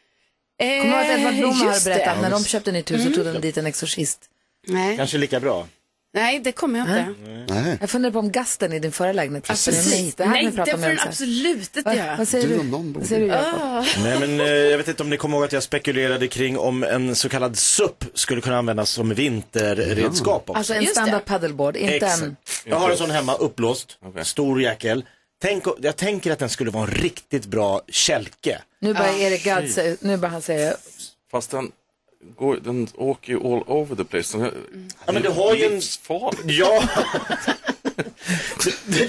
Speaker 1: Kommer du ihåg att Edvard Blom har
Speaker 4: Eh, just det.
Speaker 1: berättat när de köpte nytt hus så
Speaker 4: Mm.
Speaker 1: tog de dit en exorcist?
Speaker 4: Nej.
Speaker 2: Kanske lika bra.
Speaker 4: Nej, det kommer jag inte.
Speaker 3: Nej.
Speaker 1: Jag funderar på om gasten i din förra lägenhet
Speaker 4: Ja,
Speaker 1: försvinner.
Speaker 4: precis.
Speaker 1: Det här
Speaker 4: Nej,
Speaker 1: kan vi prata
Speaker 4: det
Speaker 1: om
Speaker 4: får
Speaker 1: igen
Speaker 4: den
Speaker 1: sen.
Speaker 4: absolut inte
Speaker 1: Va?
Speaker 4: göra. Ah,
Speaker 1: Vad säger
Speaker 4: Du
Speaker 1: du?
Speaker 4: om någon borde.
Speaker 1: Vad säger du Jakob?
Speaker 2: Nej, men eh, jag vet inte om ni kommer ihåg att jag spekulerade kring om en så kallad SUP skulle kunna användas som vinterredskap också.
Speaker 1: Alltså en standard paddleboard, inte en...
Speaker 2: Jag har en sån hemma, uppblåst, stor jäkel. Tänk, o- jag tänker att den skulle vara en riktigt bra kälke.
Speaker 1: Nu börjar
Speaker 15: Ah,
Speaker 1: Erik Gadd
Speaker 15: shit.
Speaker 1: säga, nu börjar han säga,
Speaker 15: Fast den, går, den åker ju all over the place. Den,
Speaker 2: Ja, [laughs] men du har ju en...
Speaker 15: [laughs] Livsfarlig.
Speaker 2: Ja.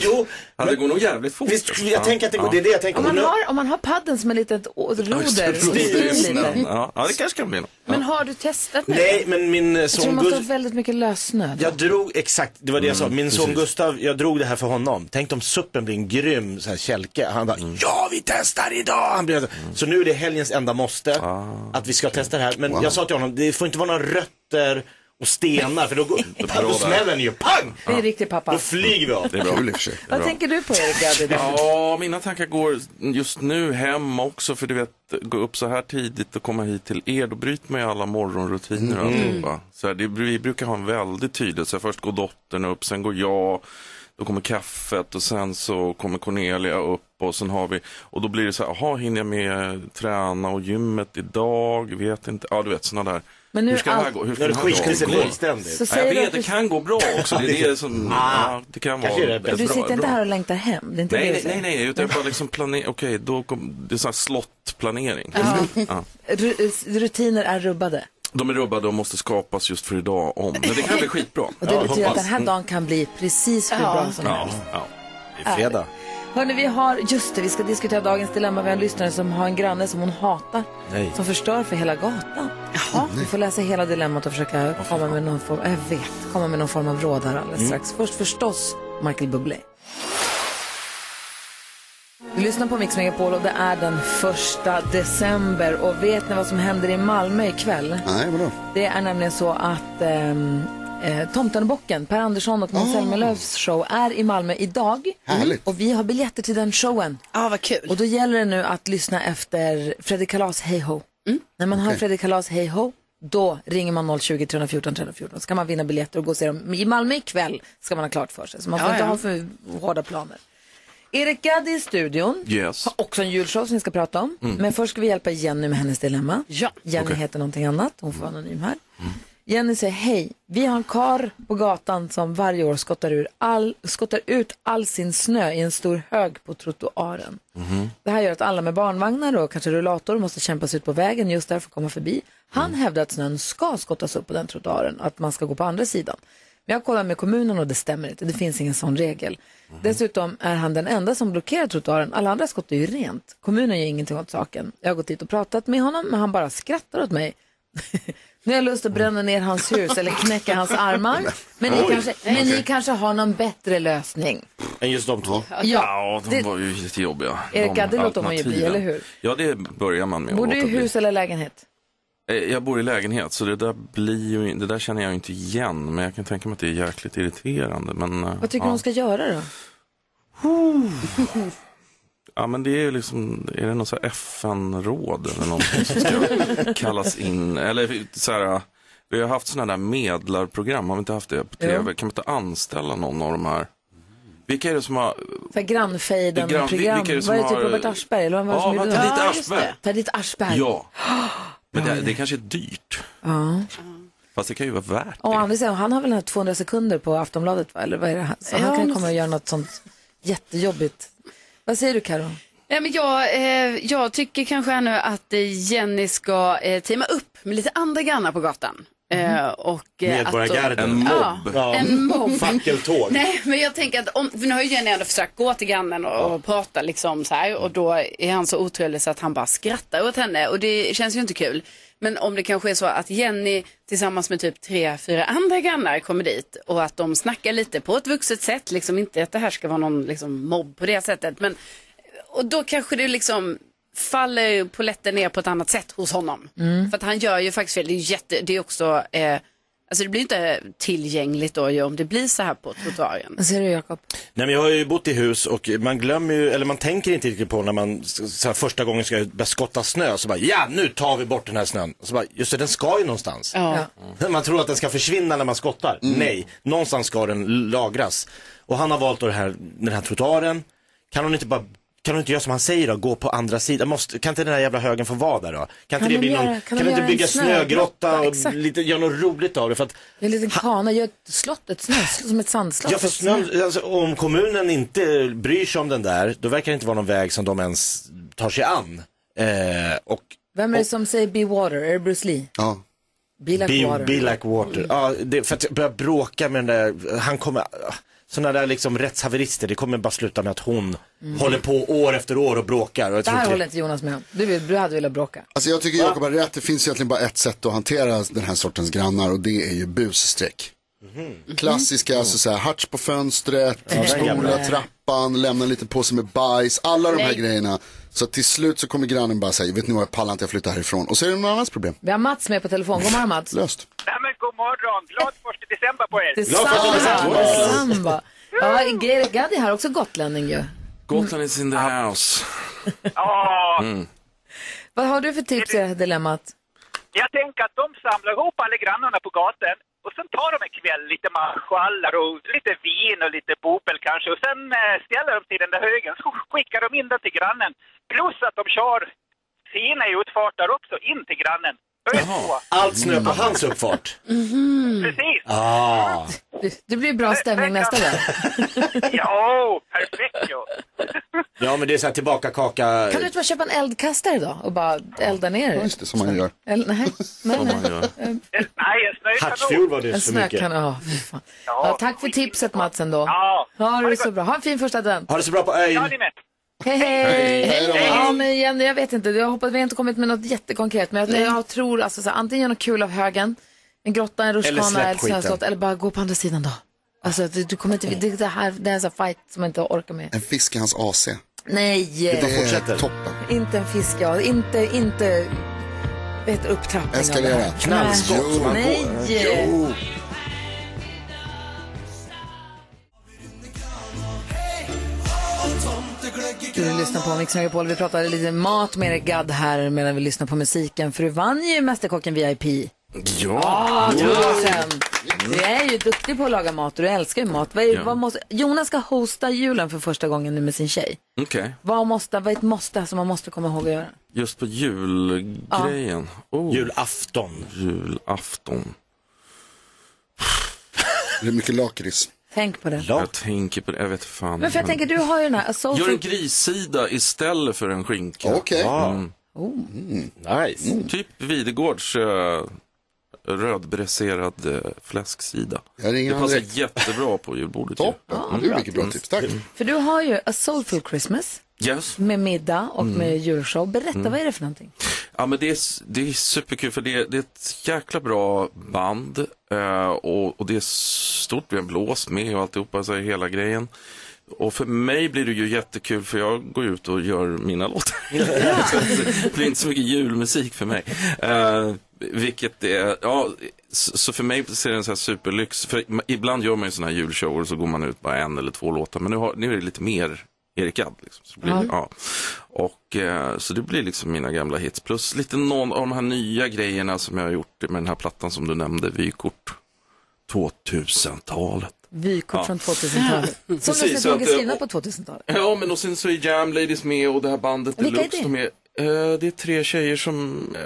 Speaker 2: jo.
Speaker 15: Ja, det går nog jävligt fort.
Speaker 2: Visst, jag tänker att det går- det är det jag tänker
Speaker 1: Om man
Speaker 2: på.
Speaker 1: har, om man har padden som en litet å- roder. som styr lite.
Speaker 15: Ja, ja, det kanske kan bli något.
Speaker 1: Men har du testat nu?
Speaker 2: Nej, men min eh,
Speaker 1: Jag tror
Speaker 2: son
Speaker 1: man tar
Speaker 2: Gustav...
Speaker 1: väldigt mycket lössnö.
Speaker 2: Jag drog, exakt, det var det jag sa.
Speaker 15: Mm,
Speaker 2: Min son
Speaker 15: precis.
Speaker 2: Gustav, jag drog det här för honom. Tänk om suppen blir en grym så här, kälke. Han bara,
Speaker 15: Mm.
Speaker 2: ja vi testar idag! Han blir, Så nu är det helgens enda måste, att vi ska testa det här. Men
Speaker 15: Ah, Wow.
Speaker 2: jag sa till honom, det får inte vara några rötter och stenar för då, går, då
Speaker 15: bråvar.
Speaker 2: smäller det ju, pang!
Speaker 1: Det är riktig pappa.
Speaker 2: Då flyger vi av.
Speaker 15: Det är bra. Kul i och för sig.
Speaker 1: Vad
Speaker 15: Bra.
Speaker 1: tänker du på Erik Gadd idag?
Speaker 15: Ja, mina tankar går just nu hem också, för du vet, gå upp så här tidigt och komma hit till er, då bryter man ju alla morgonrutiner och
Speaker 2: Mm.
Speaker 15: alltihopa. Så här, det, vi brukar ha en väldig tydlighet, så här, först går dottern upp, sen går jag, då kommer kaffet och sen så kommer Cornelia upp och sen har vi, och då blir det så här, jaha, hinner jag med träna och gymmet idag, vet inte, ja du vet sådana där.
Speaker 1: Men nu
Speaker 15: Hur ska
Speaker 1: är
Speaker 15: det här
Speaker 1: allt-
Speaker 15: gå? Hur ska
Speaker 2: Nu är det
Speaker 15: den här dagen
Speaker 2: skitkrisen
Speaker 15: gå?
Speaker 2: fullständigt. Så
Speaker 15: Ja,
Speaker 1: säger
Speaker 15: Jag
Speaker 1: du
Speaker 15: vet,
Speaker 1: att
Speaker 15: det
Speaker 1: du-
Speaker 15: kan gå bra också. Det är det som,
Speaker 2: Ah.
Speaker 15: ja, det kan
Speaker 2: Kanske är
Speaker 15: vara
Speaker 2: det bästa.
Speaker 1: Du
Speaker 15: bra-
Speaker 1: sitter inte
Speaker 15: bra.
Speaker 1: här och längtar hem. Det är inte
Speaker 15: Nej,
Speaker 1: det
Speaker 15: nej,
Speaker 1: du
Speaker 15: nej,
Speaker 1: säger.
Speaker 15: nej, utan jag bara liksom planerar, okej, då kom, det är sån här slottplanering. [laughs] Ja.
Speaker 1: Ru- Rutiner är rubbade.
Speaker 15: De är rubbade och måste skapas just för idag om, men det kan bli skitbra.
Speaker 1: Och det betyder att den här dagen kan bli precis hur bra som
Speaker 15: Ja,
Speaker 1: helst.
Speaker 15: ja.
Speaker 1: Det är fredag. Hörni, vi har, just det, vi ska diskutera dagens dilemma. Vi har en lyssnare som har en granne som hon hatar.
Speaker 2: Nej.
Speaker 1: Som förstör för hela gatan. Jaha. Vi får läsa hela dilemmat och försöka komma med någon form, jag vet, komma med någon form av råd här alldeles
Speaker 5: Mm.
Speaker 1: strax. Först förstås Michael Bublé. Du lyssnar på Mix Megapol och det är den första december. Och vet ni vad som händer i Malmö ikväll?
Speaker 3: Nej, vadå?
Speaker 1: Det är nämligen så att ehm, eh, Tomtenbocken, Per Andersson och
Speaker 5: Ah.
Speaker 1: Måns Zelmerlöws show är i Malmö idag.
Speaker 3: Härligt.
Speaker 1: Och vi har biljetter till den showen.
Speaker 4: Ja, ah, vad kul.
Speaker 1: Och då gäller det nu att lyssna efter Fredrik Kalas Hey Ho.
Speaker 5: Mm.
Speaker 1: När man hör
Speaker 5: Okej.
Speaker 1: Fredrik Kalas Hey Ho, då ringer man 020 314 314. Så kan man vinna biljetter och gå och se dem i Malmö ikväll, ska man ha klart för sig. Så man får
Speaker 5: Ja,
Speaker 1: inte
Speaker 5: ja.
Speaker 1: ha för hårda planer. Erik Gadd är i studion.
Speaker 15: Yes.
Speaker 1: Har också en julshow som vi ska prata om.
Speaker 5: Mm.
Speaker 1: Men först ska vi hjälpa Jenny med hennes dilemma.
Speaker 4: Ja.
Speaker 1: Jenny
Speaker 5: Okej.
Speaker 1: heter någonting annat, hon får vara anonym här. Jenny säger hej, vi har en kar på gatan som varje år skottar, ur all, skottar ut all sin snö i en stor hög på trottoaren. Det här gör att alla med barnvagnar och kanske rullator måste kämpa sig ut på vägen just därför komma förbi. Han hävdar att snön ska skottas upp på den trottoaren, att man ska gå på andra sidan. Men jag kollar med kommunen och det stämmer inte, det finns ingen sån regel. Dessutom är han den enda som blockerar trottoaren, alla andra skott är ju rent. Kommunen gör ingenting åt saken. Jag har gått dit och pratat med honom, men han bara skrattar åt mig. [laughs] Nu har jag lust att bränna ner hans hus eller knäcka hans armar. Men ni,
Speaker 2: Oj.
Speaker 1: kanske, men ni
Speaker 2: Okej.
Speaker 1: kanske har någon bättre lösning.
Speaker 2: Än just de två?
Speaker 1: Ja,
Speaker 15: de
Speaker 1: det-
Speaker 15: var ju lite jobbiga.
Speaker 1: Erika,
Speaker 15: de
Speaker 1: det låter man ju bli,
Speaker 15: alternativen.
Speaker 1: eller hur?
Speaker 15: Ja, det börjar man med. att
Speaker 1: Bor du i
Speaker 15: låta bli.
Speaker 1: hus eller lägenhet?
Speaker 15: Eh, Jag bor i lägenhet, så det där, blir ju, det där känner jag ju inte igen, men jag kan tänka mig att det är jäkligt irriterande. Men, eh,
Speaker 1: Vad tycker
Speaker 15: ja.
Speaker 1: du hon ska göra då?
Speaker 15: Ja, men det är ju liksom, är det någon så här FN-råd eller någonting som ska kallas in? Eller så här, vi har haft sådana där medlarprogram, har vi inte haft det på tv? Kan man inte anställa någon av de här? Vilka är det som har,
Speaker 1: Så här grannfejden,
Speaker 15: Det är grann-
Speaker 1: program.
Speaker 15: vilka är det som
Speaker 1: Var det typ
Speaker 15: har-
Speaker 1: Robert Aschberg? Eller vem var det
Speaker 15: Ja,
Speaker 1: som
Speaker 15: man
Speaker 1: gjorde
Speaker 15: tar
Speaker 1: det?
Speaker 15: dit Aschberg.
Speaker 1: Ta dit Aschberg.
Speaker 15: ja, men det, det kanske är dyrt.
Speaker 1: Ja.
Speaker 15: Fast det kan ju vara värt.
Speaker 1: Och Anders, han har väl den här 200 sekunder på Aftonbladet va? Eller vad är det? här? Så
Speaker 4: Ja,
Speaker 1: han kan
Speaker 4: men-
Speaker 1: komma och göra något sånt jättejobbigt. Vad säger du Karo?
Speaker 4: Nej, men jag, eh, jag tycker kanske här nu att eh, Jenny ska eh, teama upp med lite andra grannar på gatan. Eh, och, eh, att
Speaker 2: Medborgargarden.
Speaker 4: de- Ja, en mobb.
Speaker 2: Fackeltåg.
Speaker 4: Nej, men jag tänker att om, för nu har ju Jenny ändå försökt gå till grannen och, och prata liksom så här och då är han så otrevlig så att han bara skrattar åt henne och det känns ju inte kul. Men om det kanske är så att Jenny tillsammans med typ tre, fyra andra grannar kommer dit och att de snackar lite på ett vuxet sätt, liksom inte att det här ska vara någon liksom mobb på det sättet, men och då kanske det liksom faller polletten ner på ett annat sätt hos honom.
Speaker 5: Mm.
Speaker 4: För att han gör ju faktiskt fel. Det är, ju jätte, det är också, eh, alltså det blir inte tillgängligt då ju om det blir så här på trottoaren.
Speaker 1: Vad säger du Jakob?
Speaker 2: Nej, men jag har ju bott i hus och man glömmer ju, eller man tänker inte riktigt på när man s- så här, första gången ska börja skotta snö, så bara ja, nu tar vi bort den här snön. Så bara, just det, den ska ju någonstans. Mm.
Speaker 4: Ja.
Speaker 2: Man tror att den ska försvinna när man skottar.
Speaker 15: Mm.
Speaker 2: Nej, någonstans ska den lagras. Och han har valt då det här, den här trottoaren. Kan hon inte bara kan hon inte göra som han säger då, gå på andra sidan? Måste, kan inte den här jävla högen få vara där då? Kan,
Speaker 1: Kan
Speaker 2: inte det
Speaker 1: de
Speaker 2: bli
Speaker 1: göra-
Speaker 2: någon,
Speaker 1: kan
Speaker 2: kan,
Speaker 1: de
Speaker 2: vi inte
Speaker 1: göra en
Speaker 2: bygga snögrotta och
Speaker 1: Exakt.
Speaker 2: lite, göra något roligt av det? För att
Speaker 1: En liten kana, gör ett slott, ett snöslott, som ett sandslott.
Speaker 2: Ja, för snön, alltså, om kommunen inte bryr sig om den där, då verkar det inte vara någon väg som de ens tar sig an. Eh, och
Speaker 1: Vem är det som säger Be Water? Är det Bruce Lee?
Speaker 2: ja.
Speaker 1: Be Like
Speaker 2: be,
Speaker 1: Water. Mm.
Speaker 2: be like water. Ja, det, för att börja bråka med den där, han kommer, sådana där liksom rättshaverister, det kommer bara sluta med att hon håller på år efter år och bråkar. Och jag
Speaker 1: Det
Speaker 2: tror
Speaker 1: här
Speaker 2: inte-
Speaker 1: Mm. håller inte Jonas med om. Du, vill, du hade velat bråka.
Speaker 3: Alltså jag tycker Jakob har rätt, det finns egentligen bara ett sätt att hantera den här sortens grannar och det är ju busstreck. Klassiska, alltså så här, harts på fönstret,
Speaker 2: Ja, den
Speaker 3: spola
Speaker 2: gamla.
Speaker 3: trappan, lämna en liten påse med bajs, alla de här
Speaker 1: Nej.
Speaker 3: grejerna. Så att till slut så kommer grannen bara säga, vet ni vad, jag pallar inte, jag flyttar härifrån. Och så är det någon annans problem.
Speaker 1: Vi har Mats med på telefon. God morgon Mats.
Speaker 3: Löst.
Speaker 17: Nej men god morgon! Glad första december på er!
Speaker 1: Detsamma. Detsamma. Ja, Gerrit Gaddi här också gotlänning ju.
Speaker 15: Gotland is in the house. Mm.
Speaker 1: Vad har du för tips i det här dilemmat?
Speaker 17: Jag tänker att de samlar ihop alla grannarna på gatan och sen tar de en kväll lite marschallar och lite vin och lite bopel kanske och sen eh, ställer de till den där högen så skickar de in den till grannen. Plus att de kör sina utfarter också in till grannen.
Speaker 2: Allt snö
Speaker 1: Mm.
Speaker 2: på hans uppfart.
Speaker 15: Mm.
Speaker 17: Precis!
Speaker 2: Ah.
Speaker 1: Du, det blir bra stämning nästa gång.
Speaker 17: Ja, perfekt ju!
Speaker 2: Ja, men det är så här tillbaka kaka.
Speaker 1: Kan du inte bara köpa en eldkastare då och bara elda ner det?
Speaker 3: det, som man gör.
Speaker 1: Eller, nej, nej,
Speaker 2: Som man
Speaker 1: nej.
Speaker 2: gör.
Speaker 1: Eh,
Speaker 17: Nej, en snökanon!
Speaker 2: Hartsfjord var det [laughs]
Speaker 1: En
Speaker 2: för mycket.
Speaker 1: snökanon, ja, fy fan. ja, Tack för tipset Mats ändå.
Speaker 17: Ja,
Speaker 1: ha det så bra. Ha en fin första advent.
Speaker 2: Ha det så bra på eh, ön.
Speaker 1: Hej,
Speaker 2: Hej.
Speaker 1: hej!
Speaker 2: Hej då.
Speaker 1: Ja, men Jenny, jag vet inte. Jag hoppas vi har inte kommit med något jättekonkret. Men jag, jag tror alltså så här, antingen göra något kul av högen, en grotta, en
Speaker 5: Eller
Speaker 1: rutschkana
Speaker 5: släpp
Speaker 1: eller
Speaker 5: skiten.
Speaker 1: snöslott. Eller bara gå på andra sidan då. Alltså, du, du kommer inte, det, det här det är en sån här fight som jag inte orkar med.
Speaker 3: En fisk i hans AC.
Speaker 1: Nej!
Speaker 3: är toppen.
Speaker 1: Inte en fisk, ja. Inte, inte vet, upptrappning. av det
Speaker 3: Eskalera.
Speaker 1: här.
Speaker 3: Knallskott
Speaker 1: Nej.
Speaker 3: som han går.
Speaker 1: Nej.
Speaker 3: Jo.
Speaker 1: Du lyssnar på Mix Megapol. Vi pratade lite mat med er gadd här medan vi lyssnar på musiken. För du vann ju Mästerkocken VIP.
Speaker 15: Ja!
Speaker 1: två år sedan. Du är ju duktig på att laga mat och du älskar ju mat. Vad är,
Speaker 15: Ja.
Speaker 1: vad måste, Jonas ska hosta julen för första gången nu med sin tjej.
Speaker 15: Okej,
Speaker 1: Vad, måste, vad är ett måste som man måste komma ihåg att göra?
Speaker 15: just på julgrejen. Oh.
Speaker 2: Julafton.
Speaker 15: Julafton.
Speaker 3: Det är mycket lakrits.
Speaker 1: Tänk på det.
Speaker 15: Jag tänker på det, jag vet fan.
Speaker 1: Men för jag tänker, du har ju den här... Soul
Speaker 15: Gör en
Speaker 1: food.
Speaker 15: grissida istället för en skinka.
Speaker 3: Okej.
Speaker 15: Mm.
Speaker 1: Oh.
Speaker 2: Nice.
Speaker 15: Typ Videgårds uh, rödbräserad eh, fläsksida.
Speaker 3: Jag ringer
Speaker 15: Det
Speaker 3: han
Speaker 15: passar
Speaker 3: direkt.
Speaker 15: jättebra på julbordet.
Speaker 3: Toppen, det är mycket bra tips. Tack.
Speaker 1: För du har ju A Soulful Christmas
Speaker 15: Yes.
Speaker 1: med middag och
Speaker 15: Mm.
Speaker 1: med julshow. Berätta,
Speaker 15: Mm.
Speaker 1: vad är det för någonting?
Speaker 15: Ja, men det, är, det är superkul för det, det är ett jäkla bra band eh, och, och det är stort, vi har blås med och alltihopa, alltså hela grejen. Och för mig blir det ju jättekul för jag går ut och gör mina låtar. Så att [laughs] det blir inte så mycket julmusik för mig. Eh, vilket är, ja, så, så för mig ser det en sån här superlyx. För ma- ibland gör man ju såna här julshower och så går man ut bara en eller två låtar. Men nu, har, nu är det lite mer Erik Gadd. Liksom. Så, blir,
Speaker 10: Ja.
Speaker 15: det- ja. och, eh, så det blir liksom mina gamla hits. Plus lite någon av de här nya grejerna som jag har gjort med den här plattan som du nämnde, Vykort. 2000-talet.
Speaker 1: Vykort
Speaker 15: Ja.
Speaker 1: från 2000-talet.
Speaker 15: [laughs]
Speaker 1: Som
Speaker 15: Precis,
Speaker 1: Precis,
Speaker 15: så
Speaker 1: dessutom är
Speaker 15: att, eh,
Speaker 1: skrivna på 2000-talet.
Speaker 15: Ja, men och sen så är Jam Ladies med och det här bandet
Speaker 1: Vilka är
Speaker 15: Deluxe.
Speaker 1: det?
Speaker 15: De är, eh, det är tre tjejer som, eh,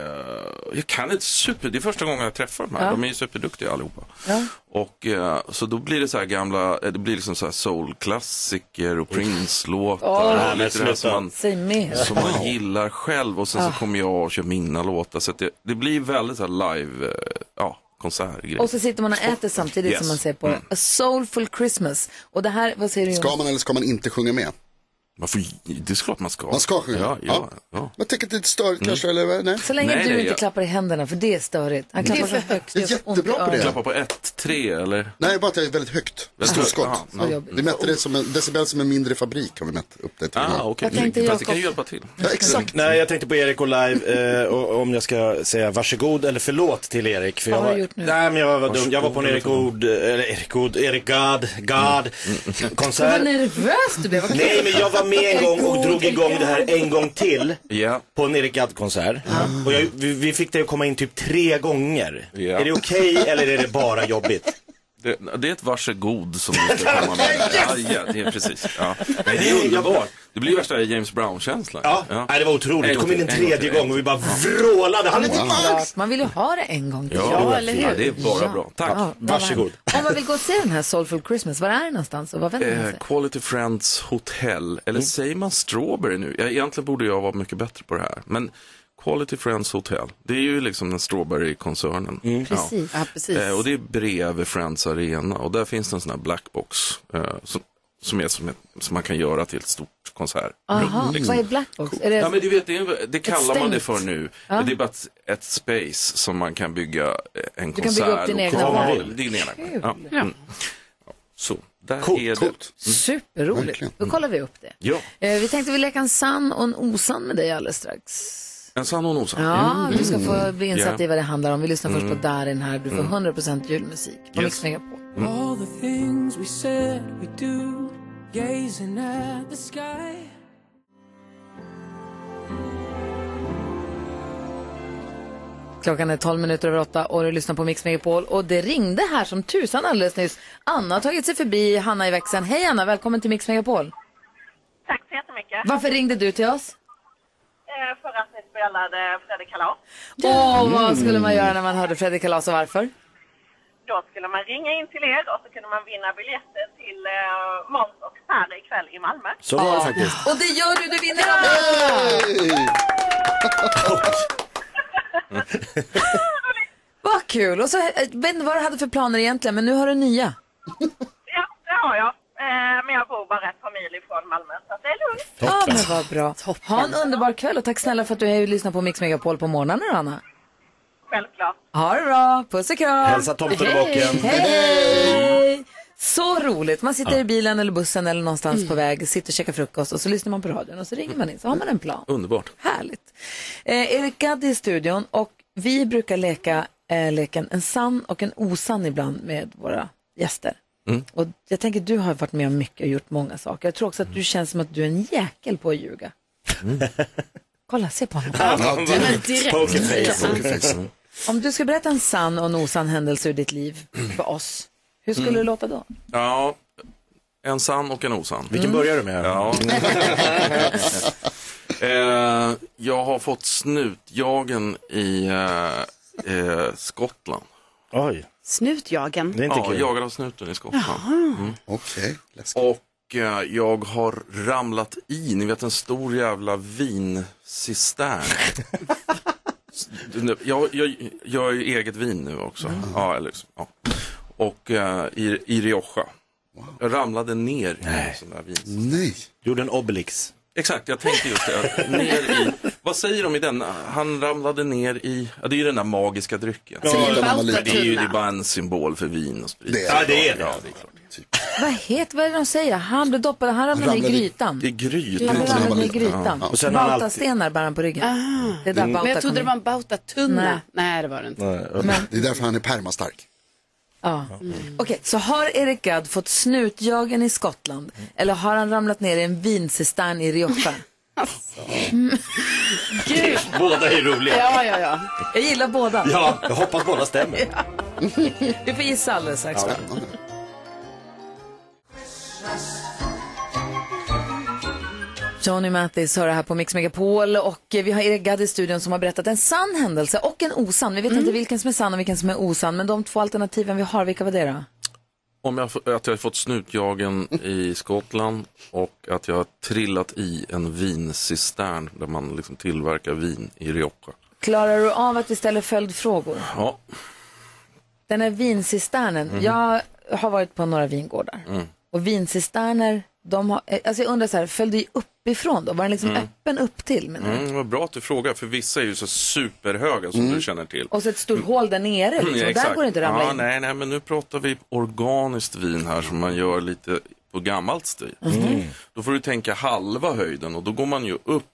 Speaker 15: jag kan inte super, det är första gången jag träffar dem här.
Speaker 10: Ja.
Speaker 15: De är ju superduktiga allihopa.
Speaker 1: Ja.
Speaker 15: Och eh, så då blir det så här gamla, eh, det blir liksom så här soulklassiker och Prince-låtar.
Speaker 1: Åh.
Speaker 15: och lite det här som man,
Speaker 1: Säg mer.
Speaker 15: som man gillar själv och sen
Speaker 1: Ah.
Speaker 15: så kommer jag och kör mina låtar. Så att det, det blir väldigt så här live, eh, ja, konsertgrej.
Speaker 1: Och så sitter man och äter samtidigt
Speaker 15: Yes. Mm.
Speaker 1: som man ser på det. A Soulful Christmas. Och det här, vad säger du
Speaker 3: Ska
Speaker 1: Jonas?
Speaker 3: man eller ska man inte sjunga med?
Speaker 15: Man får, det är klart man ska.
Speaker 3: Man ska sjunga?
Speaker 15: Ja, ja, ja. Mm.
Speaker 3: Jag tänker att det är lite störigt kanske, eller? Nej.
Speaker 1: Så länge
Speaker 15: Nej,
Speaker 1: du
Speaker 15: nej,
Speaker 1: inte
Speaker 15: jag-
Speaker 1: klappar i händerna, för det är störigt. Han
Speaker 3: Det är
Speaker 1: klappar så
Speaker 3: för-
Speaker 1: högt.
Speaker 3: jag är
Speaker 1: det gör så ont i
Speaker 3: jättebra på det.
Speaker 1: öronen.
Speaker 15: Klappa på ett, tre eller?
Speaker 3: Nej, bara att jag är väldigt högt.
Speaker 15: Väldigt högt,
Speaker 3: Storskott.
Speaker 15: ja, ja.
Speaker 3: Vi mätte det som en decibel som en mindre fabrik har vi mätt upp det till.
Speaker 15: Ah, okej.
Speaker 1: Vad tänkte
Speaker 15: Fast det
Speaker 1: Jakob?
Speaker 15: kan ju hjälpa till.
Speaker 3: exakt.
Speaker 2: Nej, jag tänkte på Erik och live eh, och om jag ska säga varsågod eller förlåt till Erik. För jag
Speaker 1: Vad har
Speaker 2: var,
Speaker 1: du gjort nu?
Speaker 2: Nej, men jag var dum. Jag var på en
Speaker 1: Varsågod
Speaker 2: Erik Ood, eller Erik Ood, Erik Gard, Gard konsert.
Speaker 1: Vad nervös du blev. Vad kul.
Speaker 2: Nej, men jag var med en gång och drog igång det här en gång till. På en Erik Gadd-konsert. Och jag, vi, vi fick dig att komma in typ tre gånger. Är det okej eller är det bara jobbigt? [laughs]
Speaker 15: Det,
Speaker 3: [laughs]
Speaker 15: det är ett varsågod som du ska komma med. Ja, ja, det är precis. Ja. Nej, det är underbart. Det blir ju värsta James Brown-känslan.
Speaker 2: Ja. Nej, det var otroligt.
Speaker 15: En gång
Speaker 2: kom in en
Speaker 15: till, gång
Speaker 2: tredje
Speaker 15: till.
Speaker 2: gång och vi bara vrålade. Han är tillbaka!
Speaker 1: Klart, Man vill ju ha det en gång till.
Speaker 15: Ja, det är bara bra. Tack.
Speaker 1: Ja, vad härligt. Om man vill gå och se den här Soulful Christmas, var är den någonstans och vad vänder man
Speaker 15: Eh,
Speaker 1: sig?
Speaker 15: Quality Friends Hotel, eller säger man Strawberry nu? Ja, egentligen borde jag vara mycket bättre på det här. Men Quality Friends Hotel, det är ju liksom den Strawberry-koncernen.
Speaker 4: Precis. Ja, precis.
Speaker 15: Eh, och det är bredvid Friends Arena och där finns det en sån här blackbox eh, som, som, är som, ett, som man kan göra till ett stort konsert.
Speaker 1: Aha, vad är Blackbox? Är
Speaker 15: Mm.
Speaker 1: det...
Speaker 15: Liksom- Ja, men du vet, det, är, det kallar man det
Speaker 1: Alltså, stängt?
Speaker 15: för nu.
Speaker 1: Ja.
Speaker 15: Men det är bara ett, ett space som man kan bygga eh, en
Speaker 1: Du kan
Speaker 15: konsert.
Speaker 1: bygga upp din
Speaker 15: och-
Speaker 1: egna
Speaker 15: Ja, man
Speaker 1: värld.
Speaker 15: vill. Din egna.
Speaker 1: Kul.
Speaker 15: Ja.
Speaker 1: Ja.
Speaker 15: Mm. Ja, Så, där är det.
Speaker 1: Superroligt. Då kollar vi upp det.
Speaker 15: Mm. Ja,
Speaker 1: Eh, Vi tänkte vi leka en sann och en osann med dig alldeles strax.
Speaker 15: en sann och en osann.
Speaker 1: Ja,
Speaker 15: Mm.
Speaker 1: du ska få bli insatt
Speaker 15: Yeah.
Speaker 1: i vad det handlar om. Vi lyssnar först
Speaker 15: Mm.
Speaker 1: på Darin här. Du får
Speaker 15: Mm.
Speaker 1: 100% julmusik på
Speaker 15: Yes.
Speaker 1: Mix Megapol.
Speaker 6: Mm.
Speaker 18: All the things we said we do, gazing at the sky.
Speaker 1: Klockan är 12 minuter över 8 och du lyssnar på Mix Megapol. Och det ringde här som tusan alldeles nyss. Anna har tagit sig förbi Hanna i växeln. Hej Anna, välkommen till Mix Megapol.
Speaker 13: Tack så jättemycket.
Speaker 1: Varför ringde du till oss?
Speaker 13: Eh, För att ni spelade Fredrik Kalas.
Speaker 1: Åh, vad skulle man göra när man hörde Fredrik Kalas och varför?
Speaker 13: Då skulle man ringa in till er och så kunde man vinna biljetter till eh, Måns och Per ikväll i Malmö.
Speaker 2: Så var det faktiskt.
Speaker 1: Och det gör du, du vinner Vad kul! Och så, jag vet inte vad du hade för planer egentligen, men nu har du nya.
Speaker 13: Ja, det har jag. Eh, Men jag bor bara ett par mil ifrån Malmö, så att det är lugnt.
Speaker 1: Ja, men vad bra. Ha en underbar kväll och tack snälla för att du är och lyssnar på Mix Megapol på morgonen, Anna.
Speaker 13: Självklart.
Speaker 1: Ha det bra, puss och kram.
Speaker 2: Hälsa tomtebocken.
Speaker 1: Hej. Hej! Så roligt. Man sitter i bilen eller bussen eller någonstans på väg, sitter och käkar frukost och så lyssnar man på radion och så ringer man in så har man en plan.
Speaker 15: Underbart.
Speaker 1: Härligt. Eh, Erik Gadd är i studion och vi brukar leka eh, leken en sann och en osann ibland med våra gäster.
Speaker 15: Mm.
Speaker 1: Och jag tänker du har varit med om mycket och gjort många saker. Jag tror också att du känns som att du är en jäkel på att ljuga. Kolla, se på honom.
Speaker 2: Pokerface.
Speaker 1: Om du ska berätta en sann och en osann händelse ur ditt liv för oss, hur skulle
Speaker 15: Mm.
Speaker 1: det låta då?
Speaker 15: Ja, en sann och en osann.
Speaker 2: Vilken
Speaker 1: Mm.
Speaker 2: börjar du med?
Speaker 15: Ja. eh, jag har fått snutjagen i eh, eh, Skottland.
Speaker 2: Oj.
Speaker 4: Snutjagen.
Speaker 15: ja, jagad av snuten i Skottland.
Speaker 4: Jaha.
Speaker 15: Okej, Och eh, jag har ramlat i, ni vet en stor jävla vincistern. S- nu- [laughs] jag, jag, jag är ju eget vin nu också. Ja, eller, så, ja. Och eh, i, i Rioja. Jag ramlade ner i en sån där vincistern.
Speaker 2: Nej. Gjorde en obelix.
Speaker 15: Exakt, jag tänkte just det. att Ner i, vad säger de i den? Han ramlade ner i, ja, det är ju den där magiska drycken.
Speaker 2: Ja, Filmalt när man var liten.
Speaker 15: det är ju det är bara en symbol för vin och sprit.
Speaker 2: Det är det. Ja, det är det.
Speaker 15: Ja, det är klart.
Speaker 1: Vad heter, vad är det de säger? Han blev doppad, han ramlade ner i grytan.
Speaker 15: Det är grytan.
Speaker 1: Han ramlade ner i
Speaker 15: Ja.
Speaker 1: grytan.
Speaker 15: Och sen har han alltid-
Speaker 1: Bautastenar bär han Ah. Mm. på ryggen. Det är där
Speaker 4: Men
Speaker 1: Bauta
Speaker 4: jag
Speaker 1: kom
Speaker 4: trodde det
Speaker 1: in.
Speaker 4: var en bautatunna.
Speaker 1: Nej.
Speaker 4: Nej. det var det inte.
Speaker 3: Det är därför han är permastark.
Speaker 1: Ja. Okej, så har Erik Gadd fått snutjagen i Skottland eller har han ramlat ner i en vincistern i Rioja?
Speaker 4: Gud.
Speaker 2: Båda är roliga.
Speaker 4: Ja, ja, ja.
Speaker 1: Jag gillar båda.
Speaker 2: Ja, jag hoppas båda stämmer.
Speaker 1: Du får gissa alldeles strax.
Speaker 2: Ja.
Speaker 1: Johnny Mattis hör det här på Mix Megapol och eh, vi har Erik Gadd i studion som har berättat en sann händelse och en osann. Vi vet inte vilken som är sann och vilken som är osann, men de två alternativen vi har, vilka var det då?
Speaker 15: Om jag, f- att jag har fått snutjagen i Skottland och att jag har trillat i en vincistern där man liksom tillverkar vin i Rioja.
Speaker 1: Klarar du av att vi ställer följdfrågor?
Speaker 15: Ja.
Speaker 1: Den här vincisternen,
Speaker 15: Mhm.
Speaker 1: jag har varit på några vingårdar
Speaker 15: Mm.
Speaker 1: och vincisterner, de har, eh, alltså jag undrar så här, följde ju uppifrån då? Var den liksom
Speaker 15: Mm.
Speaker 1: öppen upp till menar du?
Speaker 15: Mm, vad bra att du frågar, för vissa är ju så superhöga som du känner till.
Speaker 1: Och så ett stort hål där nere, liksom.
Speaker 15: Mm, Ja,
Speaker 1: Och där
Speaker 15: exakt.
Speaker 1: går det inte att ramla
Speaker 15: ja,
Speaker 1: in.
Speaker 15: Nej, nej, men nu pratar vi organiskt vin här som man gör lite på gammalt stil.
Speaker 2: Mm.
Speaker 1: Mhm.
Speaker 15: Då får du tänka halva höjden och då går man ju upp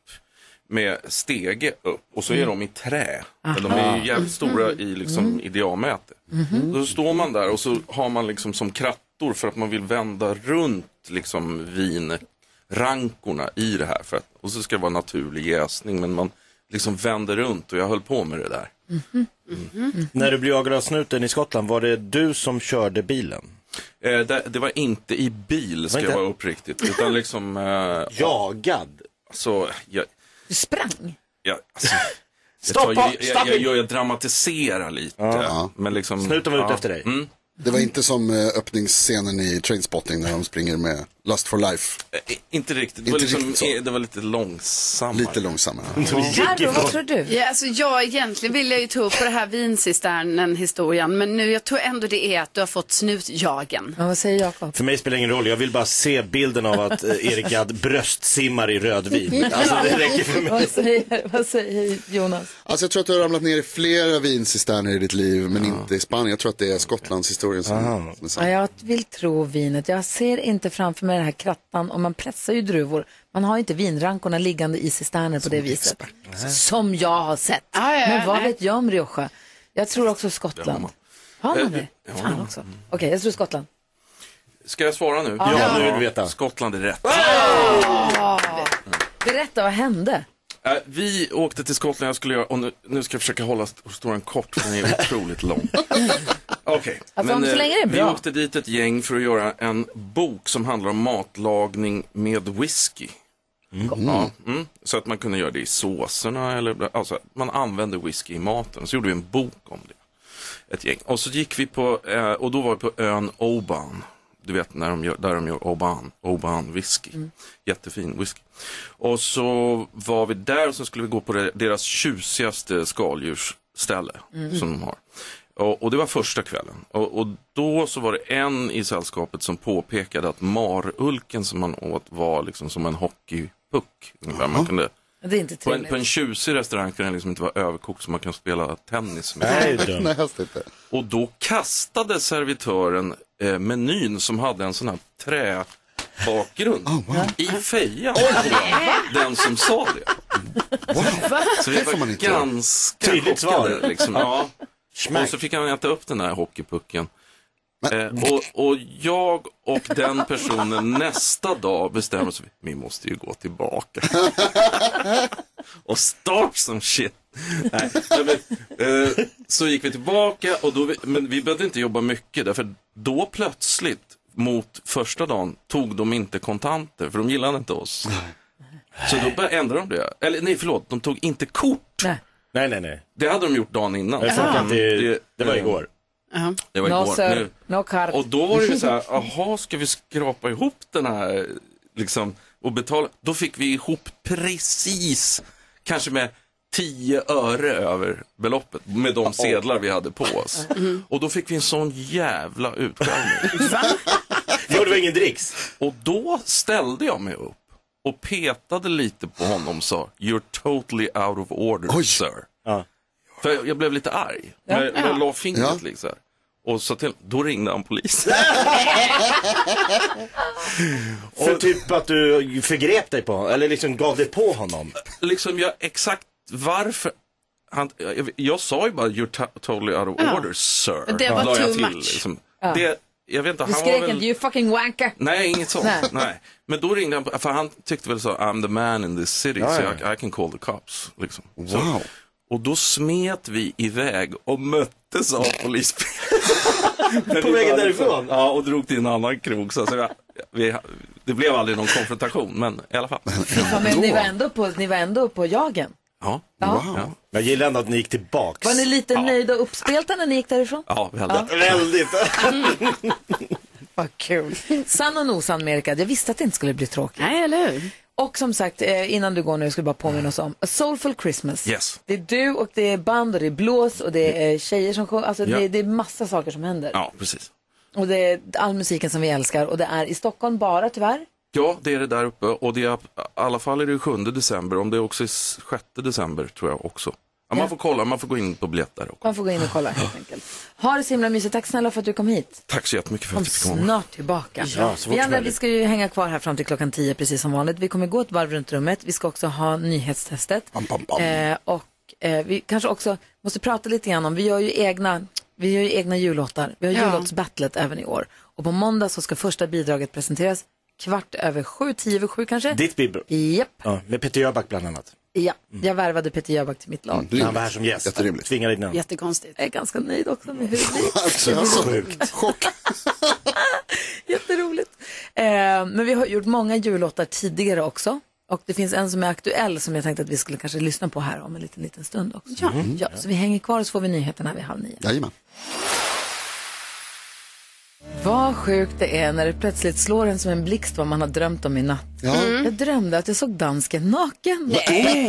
Speaker 15: med stege upp och så är
Speaker 2: Mm.
Speaker 15: de i trä.
Speaker 2: Aha.
Speaker 15: De är ju jävligt stora i, liksom,
Speaker 2: Mm.
Speaker 15: i diameter.
Speaker 2: Mhm.
Speaker 15: Då står man där och så har man liksom som krattor för att man vill vända runt liksom vinrankorna i det här. För att, och så ska det vara naturlig jäsning men man liksom vänder runt och jag höll på med det där.
Speaker 2: När du blev jagad av snuten i Skottland, var det du som körde bilen?
Speaker 15: Eh, det, det var inte i bil, ska
Speaker 2: Var
Speaker 15: jag
Speaker 2: inte?
Speaker 15: vara uppriktigt. Utan liksom... Eh, Jagad? Alltså, jag...
Speaker 1: Du sprang?
Speaker 15: jag alltså,
Speaker 2: Stoppa!
Speaker 15: jag, tar, ju-
Speaker 2: Stopp!
Speaker 15: jag, jag, jag, jag dramatiserar lite.
Speaker 3: Ja.
Speaker 15: Men liksom,
Speaker 2: Snuten var ute efter dig.
Speaker 15: Mm.
Speaker 3: Det var inte som eh, öppningsscenen i Trainspotting när de springer med Lust for Life.
Speaker 15: Eh, Inte riktigt. Det,
Speaker 3: Inte
Speaker 15: var liksom,
Speaker 3: riktigt så.
Speaker 15: eh, det var lite långsammare.
Speaker 3: Lite långsammare.
Speaker 1: Carro, vad tror du?
Speaker 4: Ja, alltså jag egentligen vill jag ju ta upp på det här vincisternen-historien, men nu jag tror ändå det är att du har fått snutjagen.
Speaker 1: Ja, vad säger Jakob?
Speaker 2: För mig spelar det ingen roll, jag vill bara se bilden av att eh, Erik Gadd bröstsimmar i rödvin. Alltså det räcker för mig.
Speaker 1: vad, säger, vad säger Jonas?
Speaker 3: Alltså jag tror att du har ramlat ner i flera vinsisterner i ditt liv, men inte i Spanien. Jag tror att det är Skottlandshistorien som, som är
Speaker 1: Ja,
Speaker 3: sann.
Speaker 1: jag vill tro vinet. Jag ser inte framför mig den här krattan och man pressar ju druvor. Man har ju inte vinrankorna liggande i cisterner på det viset. Som jag har sett.
Speaker 4: ja,
Speaker 1: Men vad
Speaker 4: nej.
Speaker 1: vet jag om Rioja? Jag tror också
Speaker 15: Det har
Speaker 1: Skottland.
Speaker 15: man.
Speaker 1: Har man
Speaker 15: Eh,
Speaker 1: det?
Speaker 15: det har
Speaker 1: Fan
Speaker 15: man.
Speaker 1: också. Okej, jag tror Skottland.
Speaker 15: Ska jag svara nu?
Speaker 1: Ja, Ja. nu vill vi
Speaker 15: veta. Skottland är rätt.
Speaker 1: Berätta, vad hände?
Speaker 15: Eh, Vi åkte till Skottland, jag skulle göra, och nu, nu ska jag försöka hålla st- historien kort, för den är
Speaker 1: [laughs]
Speaker 15: otroligt lång. Okej.
Speaker 1: Alltså, om så
Speaker 15: eh,
Speaker 1: länge det är
Speaker 15: Vi
Speaker 1: bra.
Speaker 15: åkte dit ett gäng för att göra en bok som handlar om matlagning med whisky.
Speaker 1: Mm-hmm.
Speaker 15: Ja, mm. Så att man kunde göra det i såserna, eller, bla- alltså, man använde whisky i maten. Så gjorde vi en bok om det. Ett gäng. Och så gick vi på, eh, och då var vi på ön Oban. Du vet, när de gör, där de gör Oban, Oban whisky. Jättefin whisky. Och så var vi där och så skulle vi gå på det, deras tjusigaste skaldjursställe
Speaker 10: Mm.
Speaker 15: som de har. Och, och det var första kvällen. Och, och då så var det en i sällskapet som påpekade att marulken som man åt var liksom som en hockeypuck. ungefär. Man kunde,
Speaker 1: Det är inte
Speaker 15: på, en,
Speaker 1: trevligt.
Speaker 15: på en tjusig restaurang kan den liksom inte vara överkokt så man kan spela tennis med.
Speaker 3: Nej, det är dumt. Nej, helst inte.
Speaker 15: Och då kastade servitören eh, menyn som hade en sån här träbakgrund
Speaker 3: Oh,
Speaker 15: i fejan på den, den som sa det. Så vi
Speaker 10: Det får man
Speaker 15: var
Speaker 10: inte göra.
Speaker 15: ganska
Speaker 10: Tydligt
Speaker 15: chockade.
Speaker 10: svar.
Speaker 15: Liksom.
Speaker 10: Ja.
Speaker 15: Ja. Och så fick han äta upp den här hockeypucken.
Speaker 3: Mm.
Speaker 10: Mm.
Speaker 15: Eh, och, och jag och den personen nästa dag bestämmer oss, vi måste ju
Speaker 10: [laughs]
Speaker 15: gå tillbaka. och start som shit. Nej, nej, men, eh, så gick vi tillbaka och då, vi, men vi behövde inte jobba mycket därför då plötsligt mot första dagen tog de inte kontanter för de gillade inte oss. Så då började- ändrade de det. Eller nej, förlåt, de tog inte kort.
Speaker 1: Nej,
Speaker 15: nej, nej. Det hade de gjort dagen innan.
Speaker 2: Det funkar inte.
Speaker 15: Mm,
Speaker 2: Det var igår.
Speaker 15: Det var
Speaker 1: no
Speaker 15: igår.
Speaker 1: sir,
Speaker 15: Nu-
Speaker 1: no card.
Speaker 15: och då var det ju så här, jaha, ska vi skrapa ihop den här liksom, och betala? Då fick vi ihop precis, kanske med 10 öre över beloppet med de sedlar vi hade på oss.
Speaker 2: Mm.
Speaker 15: Och då fick vi en sån jävla utskällning.
Speaker 2: [laughs]
Speaker 15: Gjorde vi ingen dricks? Och då ställde jag mig upp och petade lite på honom och sa, you're totally out of order sir. För jag, jag blev lite arg.
Speaker 10: Ja.
Speaker 15: Jag, jag la fingret
Speaker 10: Ja.
Speaker 15: liksom. Och så till, då ringde han
Speaker 2: [laughs]
Speaker 15: polisen.
Speaker 2: För typ att du förgrep dig på eller liksom gav dig på honom.
Speaker 15: liksom jag, exakt varför. Han, jag, jag sa ju bara you're to- totally out of
Speaker 1: Ja.
Speaker 15: order sir.
Speaker 1: Det var
Speaker 15: la jag
Speaker 1: too
Speaker 15: till,
Speaker 1: much.
Speaker 15: Liksom.
Speaker 1: Ja.
Speaker 15: Det, jag vet inte,
Speaker 1: Du
Speaker 15: han var
Speaker 1: skrek
Speaker 15: väl...
Speaker 1: inte, you fucking wanker.
Speaker 15: Nej, inget sånt.
Speaker 1: Nej.
Speaker 15: Nej. Men då ringde han, för han tyckte väl så, I'm the man in this city,
Speaker 2: Ja,
Speaker 15: så
Speaker 2: ja.
Speaker 15: jag I can call the cops. Liksom.
Speaker 2: Wow.
Speaker 15: Så, och då smet vi iväg och möttes av polisbilen.
Speaker 2: På vägen därifrån?
Speaker 15: Ja, och drog till en annan krog. Så, så jag, vi, det blev aldrig någon konfrontation, men i alla fall.
Speaker 1: Ja, men ni var ändå på, ni var ändå på jagen.
Speaker 15: Ja.
Speaker 1: Ja.
Speaker 15: Ja.
Speaker 2: Jag gillar ändå att ni gick tillbaks.
Speaker 1: Var ni lite nöjda och uppspelta när ni gick därifrån?
Speaker 15: Ja,
Speaker 1: väldigt.
Speaker 2: Väldigt.
Speaker 1: Vad kul. Sann och nosann Merika, jag visste att det inte skulle bli tråkigt.
Speaker 4: Nej, eller hur?
Speaker 1: Och som sagt, eh, innan du går nu, jag skulle bara påminna oss om A Soulful Christmas.
Speaker 15: Yes.
Speaker 1: Det är du och det är band och det är blås och det är tjejer som sjunger. Alltså
Speaker 15: Ja.
Speaker 1: det, det är massa saker som händer.
Speaker 15: Ja, precis.
Speaker 1: Och det är all musiken som vi älskar och det är i Stockholm bara tyvärr.
Speaker 15: Ja, det är det där uppe och det är, i alla fall är det 7 december, om det också är 6 december tror jag också. Ja, man får kolla, man får gå in på biljetter.
Speaker 1: Man får gå in och kolla
Speaker 15: [gasps]
Speaker 1: helt enkelt. Ha det så himla mysigt. Tack snälla för att du kom hit.
Speaker 15: Tack så jättemycket för
Speaker 1: Kom
Speaker 15: att jag fick komma.
Speaker 1: snart tillbaka.
Speaker 15: Ja, så fort
Speaker 1: vi
Speaker 15: som
Speaker 1: andra vi
Speaker 15: möjligt.
Speaker 1: ska ju hänga kvar här fram till klockan 10 precis som vanligt. Vi kommer gå ett varv runt rummet. Vi ska också ha nyhetstestet. Eh, och eh, vi kanske också måste prata lite grann om, vi gör ju egna, vi gör ju egna jullåtar. Vi har
Speaker 4: Ja.
Speaker 1: jullåtsbattlet även i år. Och på måndag så ska första bidraget presenteras kvart över sju, tio över sju kanske.
Speaker 2: Ditt bibel.
Speaker 1: Japp.
Speaker 2: Ja, med Peter Jöback bland annat.
Speaker 1: Ja,
Speaker 15: Mm.
Speaker 1: jag värvade Peter Jöback till mitt lag.
Speaker 2: Han var här som gäst. Jätterimligt. Tvingade in honom.
Speaker 4: Jättekonstigt.
Speaker 1: Jag är ganska nöjd också med hur det blir.
Speaker 2: Alltså,
Speaker 1: Det blir-
Speaker 2: sjukt.
Speaker 1: [laughs] Eh, men vi har gjort många jullåtar tidigare också. Och det finns en som är aktuell som jag tänkte att vi skulle kanske lyssna på här om en liten, liten stund också. Ja.
Speaker 3: Mm.
Speaker 1: ja, så vi hänger kvar och så får vi nyheterna vid halv nio.
Speaker 3: Jajamän.
Speaker 1: Vad sjukt det är när det plötsligt slår en som en blixt vad man har drömt om i natt.
Speaker 3: Ja. Mm.
Speaker 1: Jag drömde att jag såg dansken naken.
Speaker 3: Nej.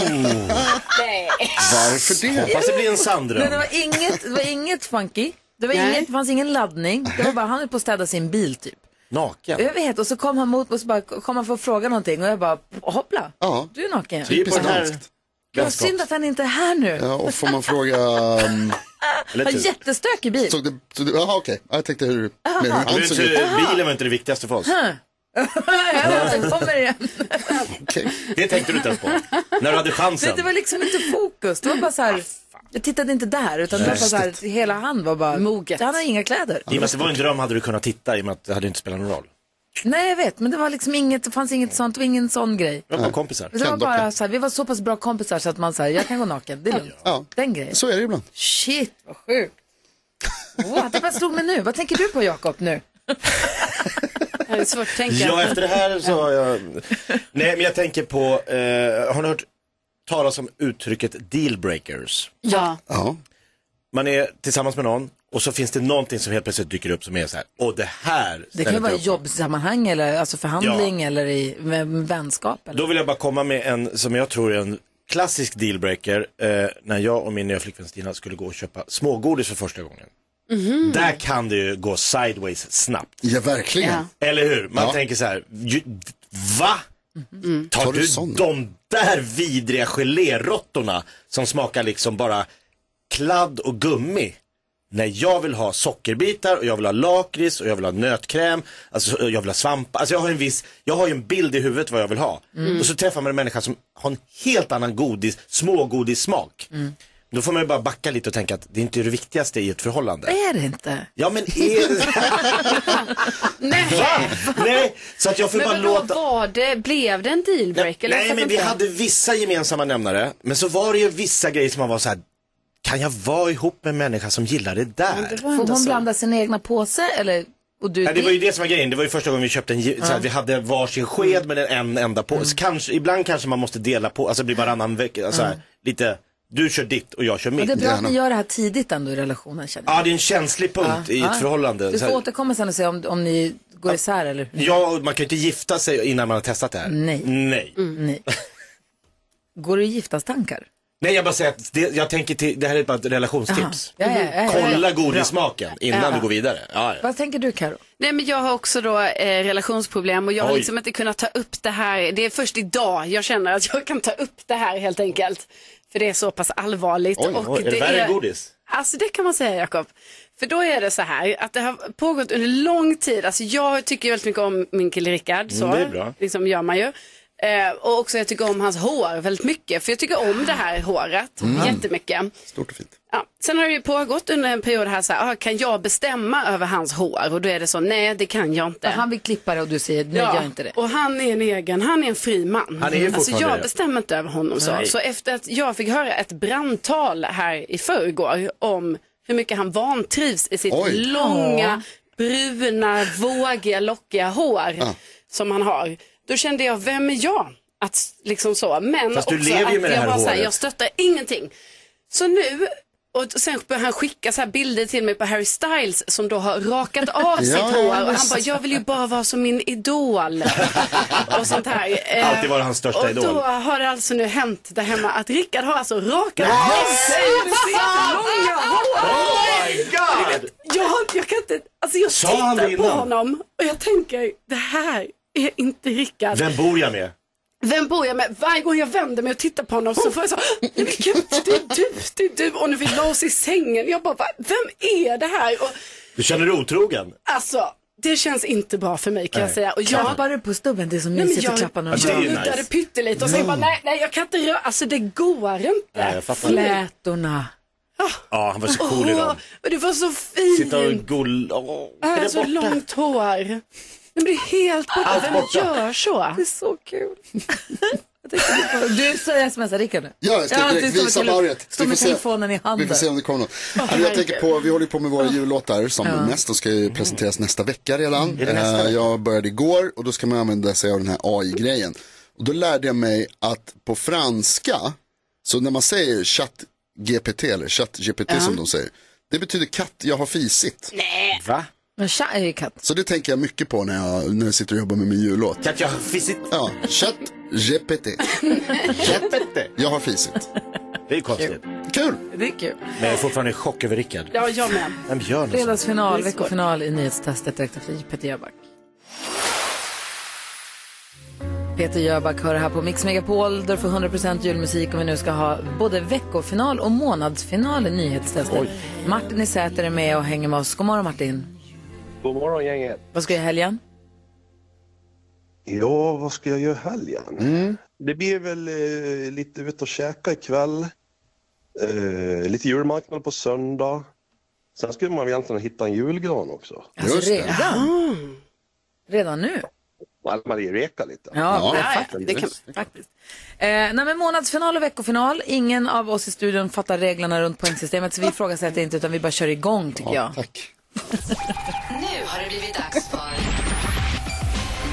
Speaker 3: Varför det?
Speaker 2: Hoppas det blir en
Speaker 1: Nej,
Speaker 2: sanddröm.
Speaker 1: det, var inget, det var inget funky. Det, var
Speaker 2: Nej.
Speaker 1: inget, det fanns ingen laddning. Det var bara han höll på att städa sin bil typ.
Speaker 2: Naken.
Speaker 1: Jag vet, och så kom han mot mig och så bara, kom han för att fråga någonting och jag bara, hoppla,
Speaker 3: Ja.
Speaker 1: du är naken.
Speaker 3: Typiskt
Speaker 1: Vad
Speaker 3: danskt.
Speaker 1: Vad synd att han inte är här nu.
Speaker 3: Ja, och får man fråga... Um...
Speaker 1: Han
Speaker 2: typ.
Speaker 1: har jättestökig bil. [laughs]
Speaker 3: Såg det, såg det, jaha, okej. Jag tänkte hur, med
Speaker 1: Aha.
Speaker 3: hur
Speaker 2: Men
Speaker 3: han
Speaker 2: det
Speaker 3: såg
Speaker 2: är
Speaker 3: ut.
Speaker 2: inte- Bilen var inte det viktigaste för oss.
Speaker 1: Huh. jag vet, inte, kommer igen.
Speaker 2: Det tänkte du inte ens på.
Speaker 1: [laughs]
Speaker 2: När du hade
Speaker 1: Det,
Speaker 2: chansen.
Speaker 1: det var liksom inte fokus. Det var bara så här, jag tittade inte där utan det var bara så här, hela han var bara, Moget. han har inga kläder.
Speaker 2: I och med att alltså, det var en dröm hade du kunnat titta i och med att det hade inte spelat någon roll.
Speaker 1: Nej, jag vet, men det var liksom inget, det fanns inget sånt, det var ingen sån grej.
Speaker 2: Vi var bara kompisar.
Speaker 1: Det var bara så här, vi var så pass bra kompisar så att man säger jag kan gå naken, det är lugnt. Den grejen.
Speaker 3: Så är det ibland.
Speaker 1: Shit, vad sjukt. Wow, det bara slog mig nu. Vad tänker du på Jakob nu?
Speaker 4: Det är svårt att tänka.
Speaker 2: Ja, efter det här så har
Speaker 1: [laughs]
Speaker 2: jag... Nej, men jag tänker på, eh, har ni hört talas om uttrycket dealbreakers?
Speaker 4: Ja.
Speaker 2: Man är tillsammans med någon och så finns det någonting som helt plötsligt dyker upp som är så här, och det här
Speaker 1: Det kan
Speaker 2: ställer
Speaker 1: ju vara i
Speaker 2: jag upp
Speaker 1: jobbsammanhang eller alltså förhandling eller i med, med vänskap. Eller?
Speaker 2: Då vill jag bara komma med en som jag tror är en klassisk dealbreaker. Eh, när jag och min nya flickvän Stina skulle gå och köpa smågodis för första gången. Där kan det ju gå sideways snabbt.
Speaker 3: Ja, verkligen.
Speaker 2: Ja. Eller hur? Man
Speaker 3: Ja. Mm.
Speaker 2: tänker så här, ju, va? Tar,
Speaker 3: Tar du
Speaker 2: du
Speaker 3: sån?
Speaker 2: de där vidriga gelérottorna som smakar liksom bara kladd och gummi? När jag vill ha sockerbitar och jag vill ha lakrits och jag vill ha nötkräm, alltså jag vill ha svamp. Alltså jag har en viss, jag har ju en bild i huvudet vad jag vill ha.
Speaker 10: Mm.
Speaker 2: Och så träffar man en människa som har en helt annan godis, smågodissmak. Då får man ju bara backa lite och tänka att det är inte det viktigaste i ett förhållande.
Speaker 1: Är det inte?
Speaker 2: Ja men
Speaker 1: [laughs]
Speaker 2: är det...
Speaker 4: Nej.
Speaker 2: Nej, så att jag får
Speaker 4: Men
Speaker 2: bara
Speaker 4: vadå,
Speaker 2: låta...
Speaker 4: var det, blev det en dealbreaker? eller
Speaker 2: Nej
Speaker 4: vad
Speaker 2: men vi
Speaker 4: fattar
Speaker 2: hade
Speaker 4: inte?
Speaker 2: vissa gemensamma nämnare, men så var det ju vissa grejer som man var så här. kan jag vara ihop med en människa som gillar det där?
Speaker 1: Får hon blanda sin egna påse eller? Och du,
Speaker 2: Nej, det var ju det som var grejen, det var ju första gången vi köpte en, ge- så här,
Speaker 1: Ja. Mm.
Speaker 2: vi hade varsin sked men en enda på. Så kanske, ibland kanske man måste dela på, alltså det blir varannan vecka, alltså, här,
Speaker 1: Mm.
Speaker 2: lite, du kör ditt och jag kör
Speaker 1: Ja,
Speaker 2: mitt.
Speaker 1: det är bra att ni gör det här tidigt ändå i relationen känner
Speaker 2: Ja, det är en känslig
Speaker 1: jag.
Speaker 2: punkt
Speaker 1: Ja,
Speaker 2: i
Speaker 1: ja.
Speaker 2: ett förhållande.
Speaker 1: Du
Speaker 2: Så
Speaker 1: får
Speaker 2: här-
Speaker 1: återkomma sen och se om, om ni går isär eller hur.
Speaker 2: Ja, och man kan ju inte gifta sig innan man har testat det här.
Speaker 1: Nej.
Speaker 2: Nej.
Speaker 1: Nej. Går du i giftastankar?
Speaker 2: Nej, jag bara säger att det, jag tänker till, det här är bara ett relationstips.
Speaker 1: Jaha. Ja, ja, ja, ja, ja.
Speaker 2: Kolla
Speaker 1: Bra.
Speaker 2: godissmaken innan
Speaker 4: Ja.
Speaker 2: du går vidare. Ja, ja.
Speaker 1: Vad tänker du Karo?
Speaker 4: Nej men jag har också då eh, relationsproblem och jag har
Speaker 2: Oj.
Speaker 4: liksom inte kunnat ta upp det här. Det är först idag jag känner att jag kan ta upp det här helt enkelt. För det är så pass allvarligt.
Speaker 2: Oj,
Speaker 4: och
Speaker 2: oj, är det värre än godis?
Speaker 4: Alltså det kan man säga Jakob. För då är det så här att det har pågått under lång tid. Alltså jag tycker väldigt mycket om min kille Rickard. Så.
Speaker 2: Mm, det är bra.
Speaker 4: Liksom gör man ju. Eh, och också jag tycker om hans hår väldigt mycket. För jag tycker om det här håret
Speaker 3: Mm.
Speaker 4: jättemycket.
Speaker 3: Stort och fint.
Speaker 4: Ja. Sen har det ju pågått under en period här så här, ah, kan jag bestämma över hans hår? Och då är det så, nej det kan jag inte.
Speaker 1: Han vill klippa det och du säger, nu
Speaker 4: Ja,
Speaker 1: gör jag inte det.
Speaker 4: Och han är en egen, han är en fri man.
Speaker 1: Han är ju
Speaker 4: alltså
Speaker 1: fortfarande
Speaker 4: jag
Speaker 1: det.
Speaker 4: bestämmer inte över honom så.
Speaker 1: Nej.
Speaker 4: Så efter att jag fick höra ett brandtal här i förrgår om hur mycket han vantrivs i sitt
Speaker 1: Oj.
Speaker 4: långa, bruna, vågiga, lockiga hår
Speaker 2: Ja.
Speaker 4: som han har. Då kände jag, vem är jag? Att s- liksom så. Men
Speaker 2: Fast du
Speaker 4: också
Speaker 2: lever ju
Speaker 4: att
Speaker 2: med det
Speaker 4: jag
Speaker 2: här
Speaker 4: var så här,
Speaker 2: håret.
Speaker 4: jag stöttar ingenting. Så nu, och sen började han skicka så här bilder till mig på Harry Styles som då har rakat av
Speaker 2: [laughs]
Speaker 1: Ja,
Speaker 4: sitt
Speaker 1: ja,
Speaker 4: hår. Och han
Speaker 1: visst.
Speaker 4: bara, jag vill ju bara vara som min
Speaker 2: [laughs]
Speaker 4: idol. och sånt här. Eh,
Speaker 2: Alltid var det hans största
Speaker 4: och
Speaker 2: idol.
Speaker 4: Och då har det alltså nu hänt där hemma att Rickard har alltså rakat av sig
Speaker 10: säger du
Speaker 4: sitt
Speaker 10: sant?
Speaker 4: långa
Speaker 10: Oh
Speaker 4: hår.
Speaker 10: my God!
Speaker 4: Du vet, Jag, jag kan inte, alltså jag
Speaker 2: Sa han det
Speaker 4: tittar på
Speaker 2: innan?
Speaker 4: honom och jag tänker, det här är inte Rickard.
Speaker 2: Vem bor jag med?
Speaker 4: Vem bor jag med? Varje gång jag vänder mig och tittar på honom så får jag så, "Nej, men gud, det är du, det är du. Och när vi la oss i sängen, jag bara, "Va? vem är det här? Och,
Speaker 2: Du känner dig otrogen?
Speaker 4: alltså, det känns inte bra för mig kan
Speaker 2: Nej.
Speaker 4: jag säga. Och jag,
Speaker 1: Klappar du på stubben? Det är så
Speaker 4: Nej, men
Speaker 1: mysigt att
Speaker 4: jag,
Speaker 1: klappa någon.
Speaker 4: jag nuddade pyttelite och sen bara, nej, nej, jag kan inte röra, alltså det går inte.
Speaker 2: Nej, jag fattar.
Speaker 1: Flätorna.
Speaker 2: Ja, han var så cool i
Speaker 4: Åh,
Speaker 2: dem.
Speaker 4: och det var så fint.
Speaker 2: Sitta och gol... Åh,
Speaker 4: Äh,
Speaker 2: är det
Speaker 4: så
Speaker 2: borta?
Speaker 4: långt hår. Men det är helt borta.
Speaker 1: Allt
Speaker 4: Vem
Speaker 1: borta.
Speaker 4: gör så?
Speaker 1: Det är så [laughs] kul. Du säger smsar Rickard nu.
Speaker 3: Ja, jag ska
Speaker 1: han
Speaker 3: direkt
Speaker 1: står med
Speaker 3: visa
Speaker 1: tele-
Speaker 3: barret.
Speaker 1: Står
Speaker 3: Vi
Speaker 1: med
Speaker 3: får se.
Speaker 1: telefonen i handen.
Speaker 3: Vi får se om det
Speaker 1: [laughs]
Speaker 3: kommer något.
Speaker 1: Åh,
Speaker 3: Alltså, jag tänker på, vi håller ju på med våra jullåtar som
Speaker 1: Ja. Mm.
Speaker 3: mest. De ska ju presenteras nästa vecka redan.
Speaker 1: det nästa
Speaker 3: Eh,
Speaker 1: vecka?
Speaker 3: Jag började igår och då ska man använda sig av den här AI-grejen. Och då lärde jag mig att på franska, så när man säger chatt GPT eller chatt GPT
Speaker 1: Ja.
Speaker 3: som de säger, det betyder katt, jag har fisit.
Speaker 1: Nej.
Speaker 3: Va?
Speaker 1: Men tja är ju katt.
Speaker 3: Så det tänker jag mycket på när jag, när jag sitter och jobbar med min jullåt. Katt, jag har fisit. Ja, chatt
Speaker 1: [laughs]
Speaker 3: GPT. GPT. Jag har fisit.
Speaker 2: Det är konstigt.
Speaker 3: Kul.
Speaker 1: Det är kul.
Speaker 2: Men jag är fortfarande i chock över Rickard.
Speaker 4: Ja, jag med.
Speaker 2: Vem gör något sånt?
Speaker 1: Fredagsfinal,
Speaker 4: Det är svårt.
Speaker 1: veckofinal i nyhetstestet direkt efter Peter Jöback. Peter Jöback hör här på Mix Megapol där du får 100% julmusik och vi nu ska ha både veckofinal och månadsfinal i nyhetstestet. Martin i Säter är med och hänger med oss. God morgon Martin.
Speaker 19: God morgon gänget.
Speaker 1: Vad ska du göra i helgen?
Speaker 19: Ja, vad ska jag göra i helgen?
Speaker 1: Mm.
Speaker 19: Det blir väl eh, lite ut och käka ikväll. Eh, lite julmarknad på söndag. Sen skulle man väl egentligen hitta en julgran också.
Speaker 1: Alltså, redan? Redan nu?
Speaker 19: Well, man reka lite.
Speaker 1: Ja, ja, faktiskt. Det kan, faktiskt. Eh, nej, men månadsfinal och veckofinal. Ingen av oss i studion fattar reglerna runt poängsystemet så vi ifrågasätter inte utan vi bara kör igång tycker jag.
Speaker 3: Tack.
Speaker 5: Nu har det blivit dags för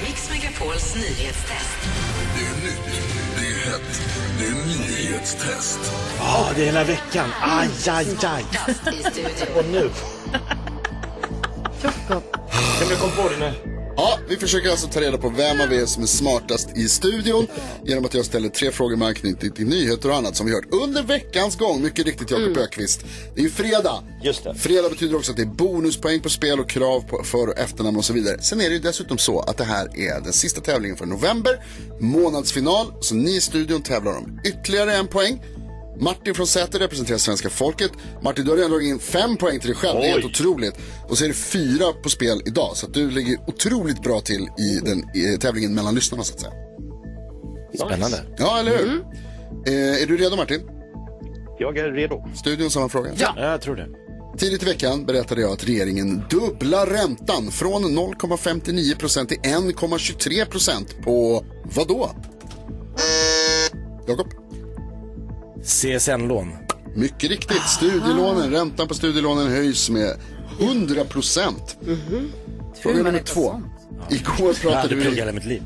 Speaker 5: Mix Megapols nyhetstest. Det är nytt, det är hett, det är nyhetstest.
Speaker 2: Ja, Ah, det är hela veckan. Aj, aj, aj. Och nu.
Speaker 3: Kan du komma på det nu? Ja, vi försöker alltså ta reda på vem av er som är smartast i studion genom att jag ställer tre frågor med anknytning till nyheter och annat som vi hört under veckans gång. Mycket riktigt Jakob
Speaker 1: Mm.
Speaker 3: Ökvist. Det är ju fredag. Just det. Fredag betyder också att det är bonuspoäng på spel och krav på för och efternamn och så vidare. Sen är det ju dessutom så att det här är den sista tävlingen för november, månadsfinal. Så ni i studion tävlar om ytterligare en poäng. Martin från Säter representerar svenska folket. Martin, du har redan dragit in fem poäng till dig själv. Det är helt
Speaker 2: Oj.
Speaker 3: otroligt. Och så är det fyra på spel idag. Så att du ligger otroligt bra till i den i tävlingen mellan lyssnarna så att säga.
Speaker 2: Spännande. Mm.
Speaker 3: Ja, eller hur? Eh, är du redo Martin?
Speaker 19: Jag är redo.
Speaker 3: Studion samma fråga.
Speaker 2: Ja. Jag tror det.
Speaker 3: Tidigt i veckan berättade jag att regeringen dubblar räntan från 0,59 procent till 1,23 procent på vad då? Jakob?
Speaker 2: CSN-lån.
Speaker 3: Mycket riktigt. Studielånen, räntan på studielånen höjs med 100 procent. Fråga nummer två. Igår
Speaker 2: Jag hade
Speaker 3: pratade
Speaker 2: pluggat
Speaker 3: vi...
Speaker 2: hela mitt liv.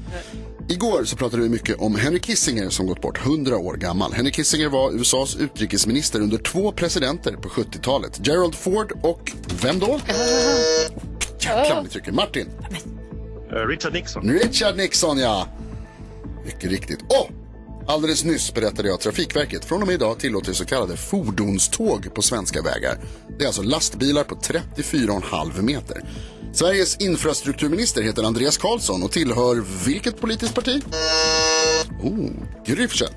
Speaker 3: Igår så pratade vi mycket om Henry Kissinger som gått bort 100 år gammal. Henry Kissinger var USAs utrikesminister under två presidenter på 70-talet. Gerald Ford och vem då? Jäklar vad ni trycker. Martin.
Speaker 19: Eh, Richard Nixon.
Speaker 3: Richard Nixon, ja. Mycket riktigt. Och alldeles nyss berättade jag att Trafikverket från och med idag tillåter så kallade fordonståg på svenska vägar. Det är alltså lastbilar på 34,5 meter. Sveriges infrastrukturminister heter Andreas Karlsson och tillhör vilket politiskt parti? Oh, Gry Forssell.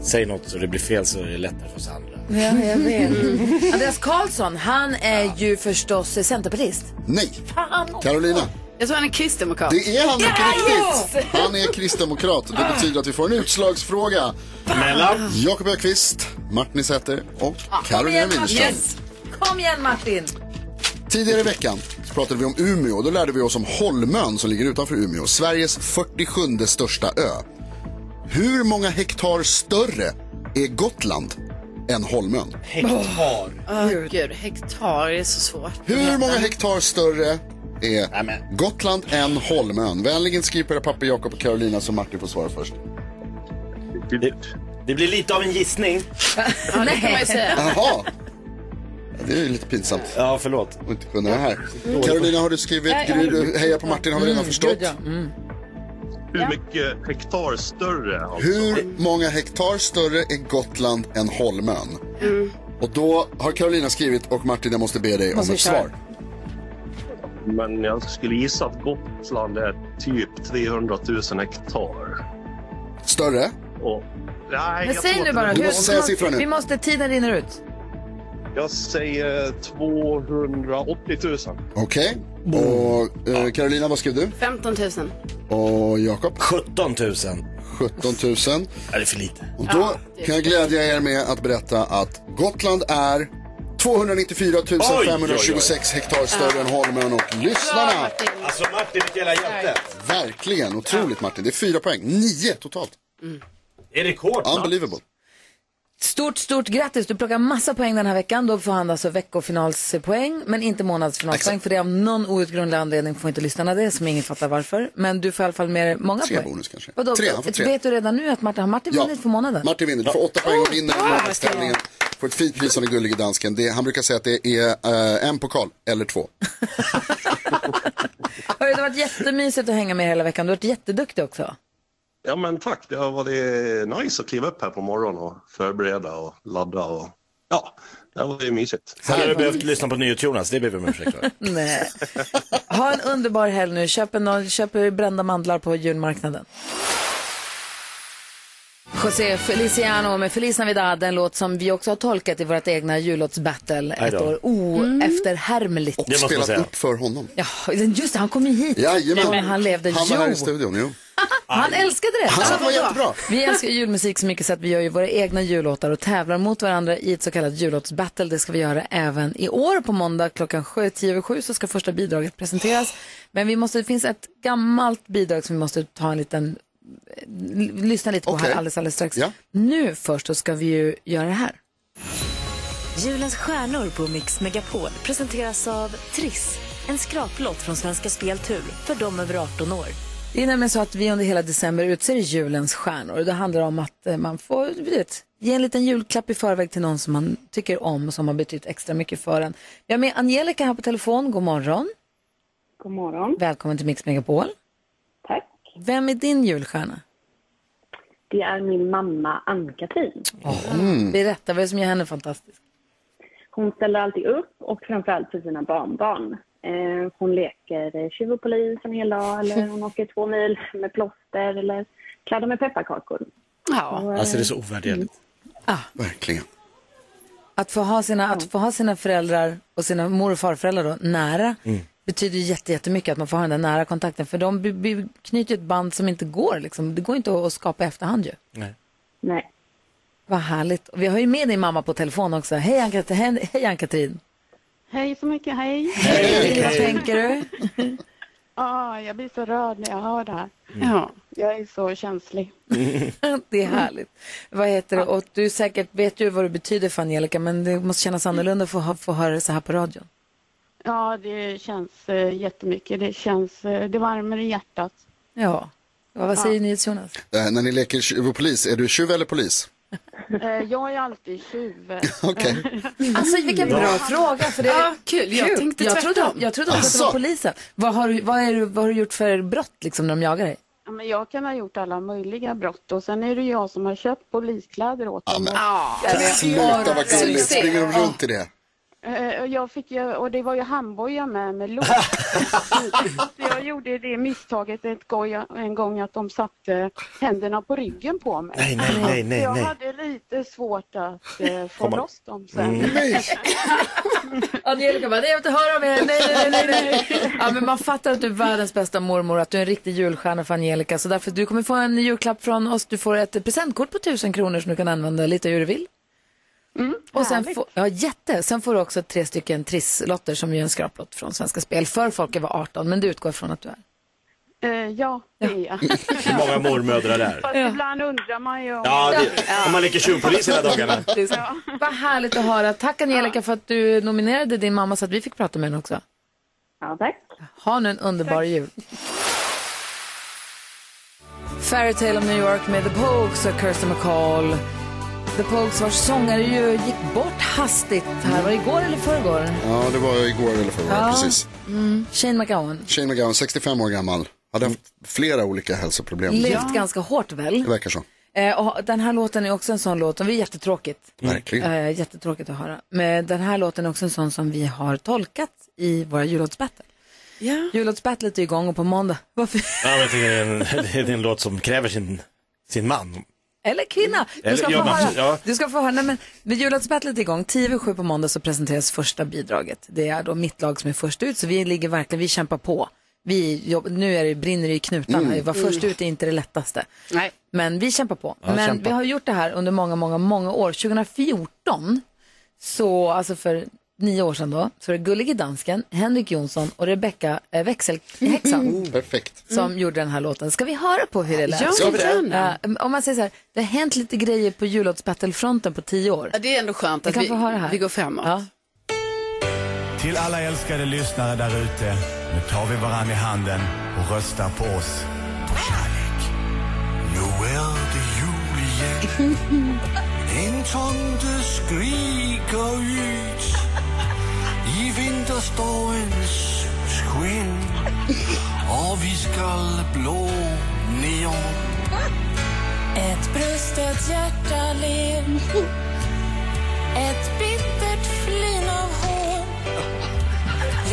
Speaker 2: Säg något så det blir fel så är det lättare för oss andra.
Speaker 1: Ja, jag vet. Andreas Karlsson, han är ju förstås centerpartist.
Speaker 3: Nej.
Speaker 1: Fan också.
Speaker 3: Carolina.
Speaker 4: Jag tror han är kristdemokrat.
Speaker 3: Det är han mycket
Speaker 4: Ja,
Speaker 3: riktigt.
Speaker 4: jo!
Speaker 3: Han är kristdemokrat. Det betyder att vi får en utslagsfråga. Mellan Jakob Ökvist, Martin Säter och
Speaker 1: Kom
Speaker 3: Carolina
Speaker 1: igen
Speaker 3: Widerström.
Speaker 1: Martin. Kom igen Martin.
Speaker 3: Tidigare i veckan så pratade vi om Umeå och då lärde vi oss om Holmön som ligger utanför Umeå, Sveriges 47 största ö. Hur många hektar större är Gotland än Holmön?
Speaker 4: Hektar. Åh gud, hektar är så svårt.
Speaker 3: Hur många hektar större är Gotland än Holmön? Vänligen skriv på era papper Jakob och Carolina så Martin får svara först.
Speaker 2: Det, det blir lite av en gissning.
Speaker 4: Ja, det kan man ju säga.
Speaker 3: Jaha. Ja, Det är ju lite pinsamt.
Speaker 2: Ja, förlåt.
Speaker 3: Och inte kunna det här. Carolina, har du skrivit?
Speaker 20: Ja, ja.
Speaker 3: Gry, du hejar på Martin, har vi redan
Speaker 20: Mm,
Speaker 3: förstått.
Speaker 20: gud, ja.
Speaker 19: Hur mycket hektar större? Alltså?
Speaker 3: Hur många hektar större är Gotland än Holmön?
Speaker 19: Mm.
Speaker 3: Och då har Carolina skrivit och Martin, jag måste be dig om
Speaker 19: Måste
Speaker 3: ett
Speaker 19: vi köra?
Speaker 3: svar.
Speaker 19: Men jag skulle gissa att Gotland är typ 300 000 hektar.
Speaker 3: Större?
Speaker 19: Och, nej,
Speaker 1: Men
Speaker 19: jag
Speaker 1: säg
Speaker 19: tror
Speaker 1: nu
Speaker 19: att-
Speaker 1: bara. hur- Vi måste, tiden rinner ut.
Speaker 19: Jag säger 280 000.
Speaker 3: Okej. Och eh, Carolina, vad skrev du?
Speaker 4: 15 000.
Speaker 3: Och Jakob?
Speaker 2: 17 000.
Speaker 3: 17 000.
Speaker 2: Ja, det är för lite.
Speaker 3: Och då kan jag glädja er med att berätta att Gotland är 294
Speaker 2: Oj, oj,
Speaker 3: 526
Speaker 2: oj.
Speaker 3: hektar större än Holmen och lyssnarna.
Speaker 2: Alltså Martin, vilken jävla hjälte.
Speaker 3: Verkligen, otroligt Martin. Det är fyra poäng, nio totalt.
Speaker 2: Mm. Det är rekord. va?
Speaker 3: Unbelievable.
Speaker 1: Stort, stort grattis. Du plockar massa poäng den här veckan. Då får han alltså veckofinalspoäng, men inte månadsfinalspoäng. För det av någon outgrundlig anledning får inte lyssnarna det, som ingen fattar varför. Men du får i alla fall med dig många
Speaker 3: Tre
Speaker 1: poäng.
Speaker 3: bonus kanske.
Speaker 1: Vadå,
Speaker 3: Tre, han får tre.
Speaker 1: Vet du redan nu att Martin, har Martin
Speaker 3: Ja.
Speaker 1: vunnit för månaden?
Speaker 3: Martin vinner, du får åtta poäng och vinner målvaktstävlingen. Får ett fint pris av den gullige dansken. Det, han brukar säga att det är eh, en pokal eller två.
Speaker 1: Hörru, det har varit jättemysigt att hänga med er hela veckan. Du har varit jätteduktig också.
Speaker 19: Ja men tack, det har varit nice att kliva upp här på morgonen och förbereda och ladda och ja, det var ju mysigt.
Speaker 2: Hade du behövt lyssna på NyhetsJonas, det ber vi om ursäkt för.
Speaker 1: Nej. Ha en underbar helg nu. Köp, en, köp brända mandlar på julmarknaden. José Feliciano med Feliz Navidad, en låt som vi också har tolkat i vårt egna jullåtsbattle
Speaker 3: Aj
Speaker 1: ett
Speaker 3: då.
Speaker 1: år Mm. oefterhärmligt.
Speaker 3: Och spelat upp för honom.
Speaker 1: Ja, just det, han kom ju hit.
Speaker 3: Jajamän.
Speaker 1: När han levde.
Speaker 3: Han var här i
Speaker 1: jo.
Speaker 3: studion, jo.
Speaker 1: Han älskade det.
Speaker 3: Han sa att det var
Speaker 1: Ja.
Speaker 3: jättebra.
Speaker 1: Vi älskar julmusik så mycket så att vi gör ju våra egna jullåtar och tävlar mot varandra i ett så kallat jullåtsbattle. Det ska vi göra även i år. På måndag klockan sju- tio över sju så ska första bidraget presenteras. Men vi måste, det finns ett gammalt bidrag som vi måste ta en liten, eh, l- lyssna lite på
Speaker 20: Okej.
Speaker 1: här alldeles, alldeles strax.
Speaker 20: Ja.
Speaker 1: Nu först så ska vi ju göra det här.
Speaker 20: Julens stjärnor på Mix Megapol presenteras av Triss. En skraplott från Svenska Speltur för de över 18 år.
Speaker 1: Det är nämligen så att vi under hela december utser julens stjärnor. Det handlar om att eh, man får du vet, ge en liten julklapp i förväg till någon som man tycker om och som har betytt extra mycket för en. Vi har med Angelica här på telefon. God morgon.
Speaker 21: God morgon.
Speaker 1: Välkommen till Mix Megapol.
Speaker 21: Tack.
Speaker 1: Vem är din julstjärna?
Speaker 21: Det är min mamma Ann-Katrin.
Speaker 1: Berätta, vad är det som gör henne fantastisk?
Speaker 21: Hon ställer alltid upp och framförallt för sina barnbarn. Eh, hon leker eh, tjuv och polis en hel dag
Speaker 22: [laughs]
Speaker 21: eller hon åker två mil med plåster eller kladdar med pepparkakor.
Speaker 4: Ja.
Speaker 2: Alltså det är så ovärderligt.
Speaker 3: Verkligen.
Speaker 1: Att få ha sina, att få ha sina föräldrar och sina mor och farföräldrar då, nära betyder ju jätte- jättemycket att man får ha den där nära kontakten. För de by- by- knyter ju ett band som inte går. Liksom. Det går inte att- att skapa i efterhand ju.
Speaker 2: Nej.
Speaker 21: Nej.
Speaker 1: Vad härligt. Och vi har ju med din mamma på telefon också. Hej Ann-Katrin. Hej, hej Ann-Katrin.
Speaker 22: Hej så mycket, hej!
Speaker 1: Hej, vad tänker du? [laughs]
Speaker 22: Ah, jag blir så rörd när jag hör det här.
Speaker 1: Mm. Ja.
Speaker 22: Jag är så känslig.
Speaker 1: det är härligt. Vad heter det? Och du säkert vet ju vad du betyder för Angelica, men det måste kännas annorlunda att få, ha- få höra det så här på radion.
Speaker 22: Ja, det känns eh, jättemycket. Det känns, eh, det värmer i hjärtat.
Speaker 1: Ja. Ja, vad säger ni Jonas?
Speaker 3: Eh, när ni leker tjuv och polis, är du tjuv eller polis? [laughs]
Speaker 22: Eh, jag är alltid tjuv.
Speaker 3: Okej.
Speaker 1: Alltså vilken bra
Speaker 3: Ja.
Speaker 1: fråga. För det...
Speaker 22: Ja, kul. Jag tänkte
Speaker 1: jag
Speaker 22: tvärtom.
Speaker 1: trodde, jag trodde också att det var
Speaker 22: Asså.
Speaker 1: polisen. Vad har, du- vad, är, du- vad har du gjort för brott liksom, när de jagar dig?
Speaker 22: Ja, men jag kan ha gjort alla möjliga brott och sen är det jag som har köpt poliskläder åt dem. och-
Speaker 3: Sluta vad gulligt,
Speaker 22: Succé.
Speaker 3: springer de runt i det?
Speaker 22: Eh, och Jag fick ju, och det var ju handboja med
Speaker 2: [laughs]
Speaker 22: med lås. Så jag gjorde det misstaget ett goj, en gång att de satte händerna på ryggen på mig.
Speaker 2: Nej, nej, nej, nej,
Speaker 22: Så jag
Speaker 2: nej.
Speaker 22: hade lite svårt att eh, få
Speaker 2: Komma.
Speaker 22: loss dem sen.
Speaker 2: Mm.
Speaker 1: Angelica bara, nej jag vill inte höra om er, nej, nej, nej, nej, nej. Ja, men man fattar att du är världens bästa mormor, att du är en riktig julstjärna för Angelica. Så därför, du kommer få en julklapp från oss. Du får ett presentkort på tusen kronor som du kan använda lite hur du vill. Och sen
Speaker 22: härligt.
Speaker 1: får, ja, jätte. Sen får du också tre stycken trisslotter som ju är en skraplott från Svenska Spel för folk över 18, men det utgår från att du är.
Speaker 22: Eh,
Speaker 2: Mm.
Speaker 22: ja, det är jag.
Speaker 2: Hur många mormödrar det är.
Speaker 22: Fast ibland undrar man ju om...
Speaker 2: Mm. Ja, det, om man leker tjuvpolis hela dagarna.
Speaker 1: Det är så. Vad härligt att höra. Tack Angelica för att du nominerade din mamma så att vi fick prata med henne också.
Speaker 21: Ja, tack.
Speaker 1: Ha nu en underbar jul. Fairytale of New York med The Pogues och Kirsten McCall. The Pogues vars sångare ju gick bort hastigt här. Var det igår eller förrgår?
Speaker 3: Ja, det var igår eller förra, precis.
Speaker 1: Mm. Shane McGowan.
Speaker 3: Shane McGowan, 65 år gammal, hade haft flera olika hälsoproblem.
Speaker 1: Levt ganska hårt väl?
Speaker 3: Det verkar så.
Speaker 1: Eh, och den här låten är också en sån låt, och det är jättetråkigt.
Speaker 3: Verkligen.
Speaker 1: Eh, jättetråkigt att höra. Men den här låten är också en sån som vi har tolkat i våra jullåtsbattle. Yeah. Jullåtsbattlet är igång och på måndag. Varför?
Speaker 2: Ja, men jag tycker det är en, det är en låt som kräver sin, sin man.
Speaker 1: Eller kvinna. Du
Speaker 2: Eller-
Speaker 1: ska
Speaker 2: ja,
Speaker 1: få
Speaker 2: men-
Speaker 1: höra.
Speaker 2: ja.
Speaker 1: Du ska få höra. Nej, men, men julaftonsspelet är igång. 10 över 7 på måndag så presenteras första bidraget. Det är då mitt lag som är först ut, så vi ligger verkligen, vi kämpar på. Vi jobb, nu är det, brinner det i knutarna.
Speaker 20: Mm.
Speaker 1: Vara först ut är inte det lättaste.
Speaker 4: Nej.
Speaker 1: Men vi kämpar på.
Speaker 20: Ja,
Speaker 1: Men
Speaker 20: kämpa.
Speaker 1: vi har gjort det här under många, många, många år. 2014 så, alltså för nio år sedan då, så var det Gullige Dansken, Henrik Jonsson och Rebecca eh, Växelhäxan
Speaker 3: Perfekt.
Speaker 1: som gjorde den här låten. Ska vi höra på hur det lät?
Speaker 4: Mm. Ja, Ska vi det? gärna.
Speaker 1: Eh, om man säger så här, det har hänt lite grejer på jullåtsbattlefronten på tio år.
Speaker 4: Ja, det är ändå skönt
Speaker 1: Vi
Speaker 4: att
Speaker 1: kan
Speaker 4: vi,
Speaker 1: få höra här.
Speaker 4: vi går framåt.
Speaker 6: Till alla älskade lyssnare där ute. Nu tar vi varann i handen och röstar på oss. På kärlek. Nu är det jul igen. En tomte skriker ut i vinterstormens skinn. Och vi skall blå neon.
Speaker 7: Ett bröst, ett hjärta, len Ett bittert flin av hån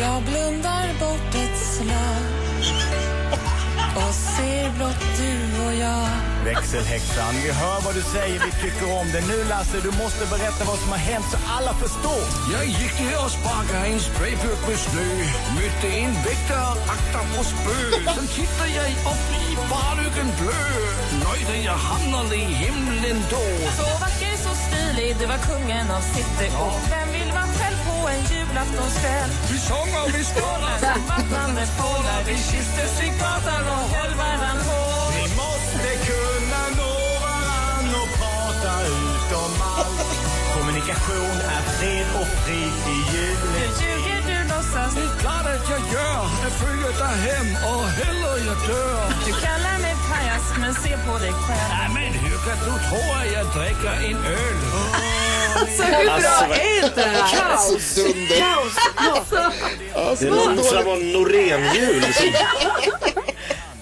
Speaker 7: Jag blundar bort ett slag och ser blott du och jag
Speaker 6: Växelhäxan, vi hör vad du säger, vi tycker om det. Nu Lasse, du måste berätta vad som har hänt så alla förstår.
Speaker 23: Jag gick ner och sparkade en sprayburk med snö Mötte en väktare, akta på spö Sen tittade jag upp i barlyken blå Nöjde jag hamnade i himlen då
Speaker 7: Så vacker, så stilig, du var kungen av city Och vem vill man själv på en julaftonskväll?
Speaker 23: Vi sjunger och vi skålar
Speaker 7: Som vattnet porlar, vi kysses, vi pratar och höll varann på
Speaker 6: Vi måste kunna nå varann och prata ut om allt. Kommunikation är fred och frid i
Speaker 7: Nu
Speaker 6: julen.
Speaker 7: ljuger du, låtsas
Speaker 23: Det är klart att jag gör Jag följer dig hem och heller jag dör
Speaker 7: Du kallar mig pajas, men se på dig själv
Speaker 23: Nej men hur kan du tro att jag dricker en öl?
Speaker 7: Alltså, hur bra Alltså, vad- är det här?
Speaker 3: Kaos. Så dunder. Alltså,
Speaker 7: Kaos!
Speaker 2: Det låter som att vara Norénhjul.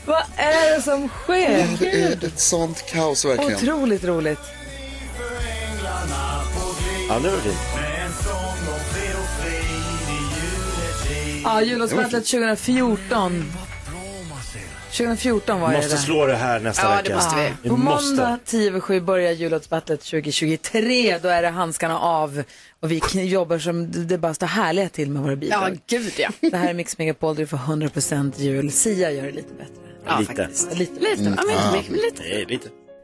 Speaker 1: Vad är det som sker?
Speaker 3: Ja, det är ett sånt kaos verkligen.
Speaker 1: Otroligt roligt.
Speaker 2: Ja, det var fint.
Speaker 1: Ja, jullåtsbattlet 2014. 2014 var det
Speaker 2: Måste
Speaker 1: där.
Speaker 2: slå det här nästa vecka. Vi
Speaker 1: På
Speaker 2: måste.
Speaker 1: måndag 10 över 7 börjar jullåtsbattlet 2023. Då är det handskarna av och vi kn- jobbar som det bara står härliga till med våra bidrag.
Speaker 4: Ja, gud ja.
Speaker 1: Det här är Mix Megapol, du får 100% jul. Sia gör det lite bättre.
Speaker 4: Ja,
Speaker 2: lite.
Speaker 1: Lite. Mm.
Speaker 4: Lite. Ja, men inte mycket, men lite.
Speaker 2: Nej, lite.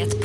Speaker 24: Ett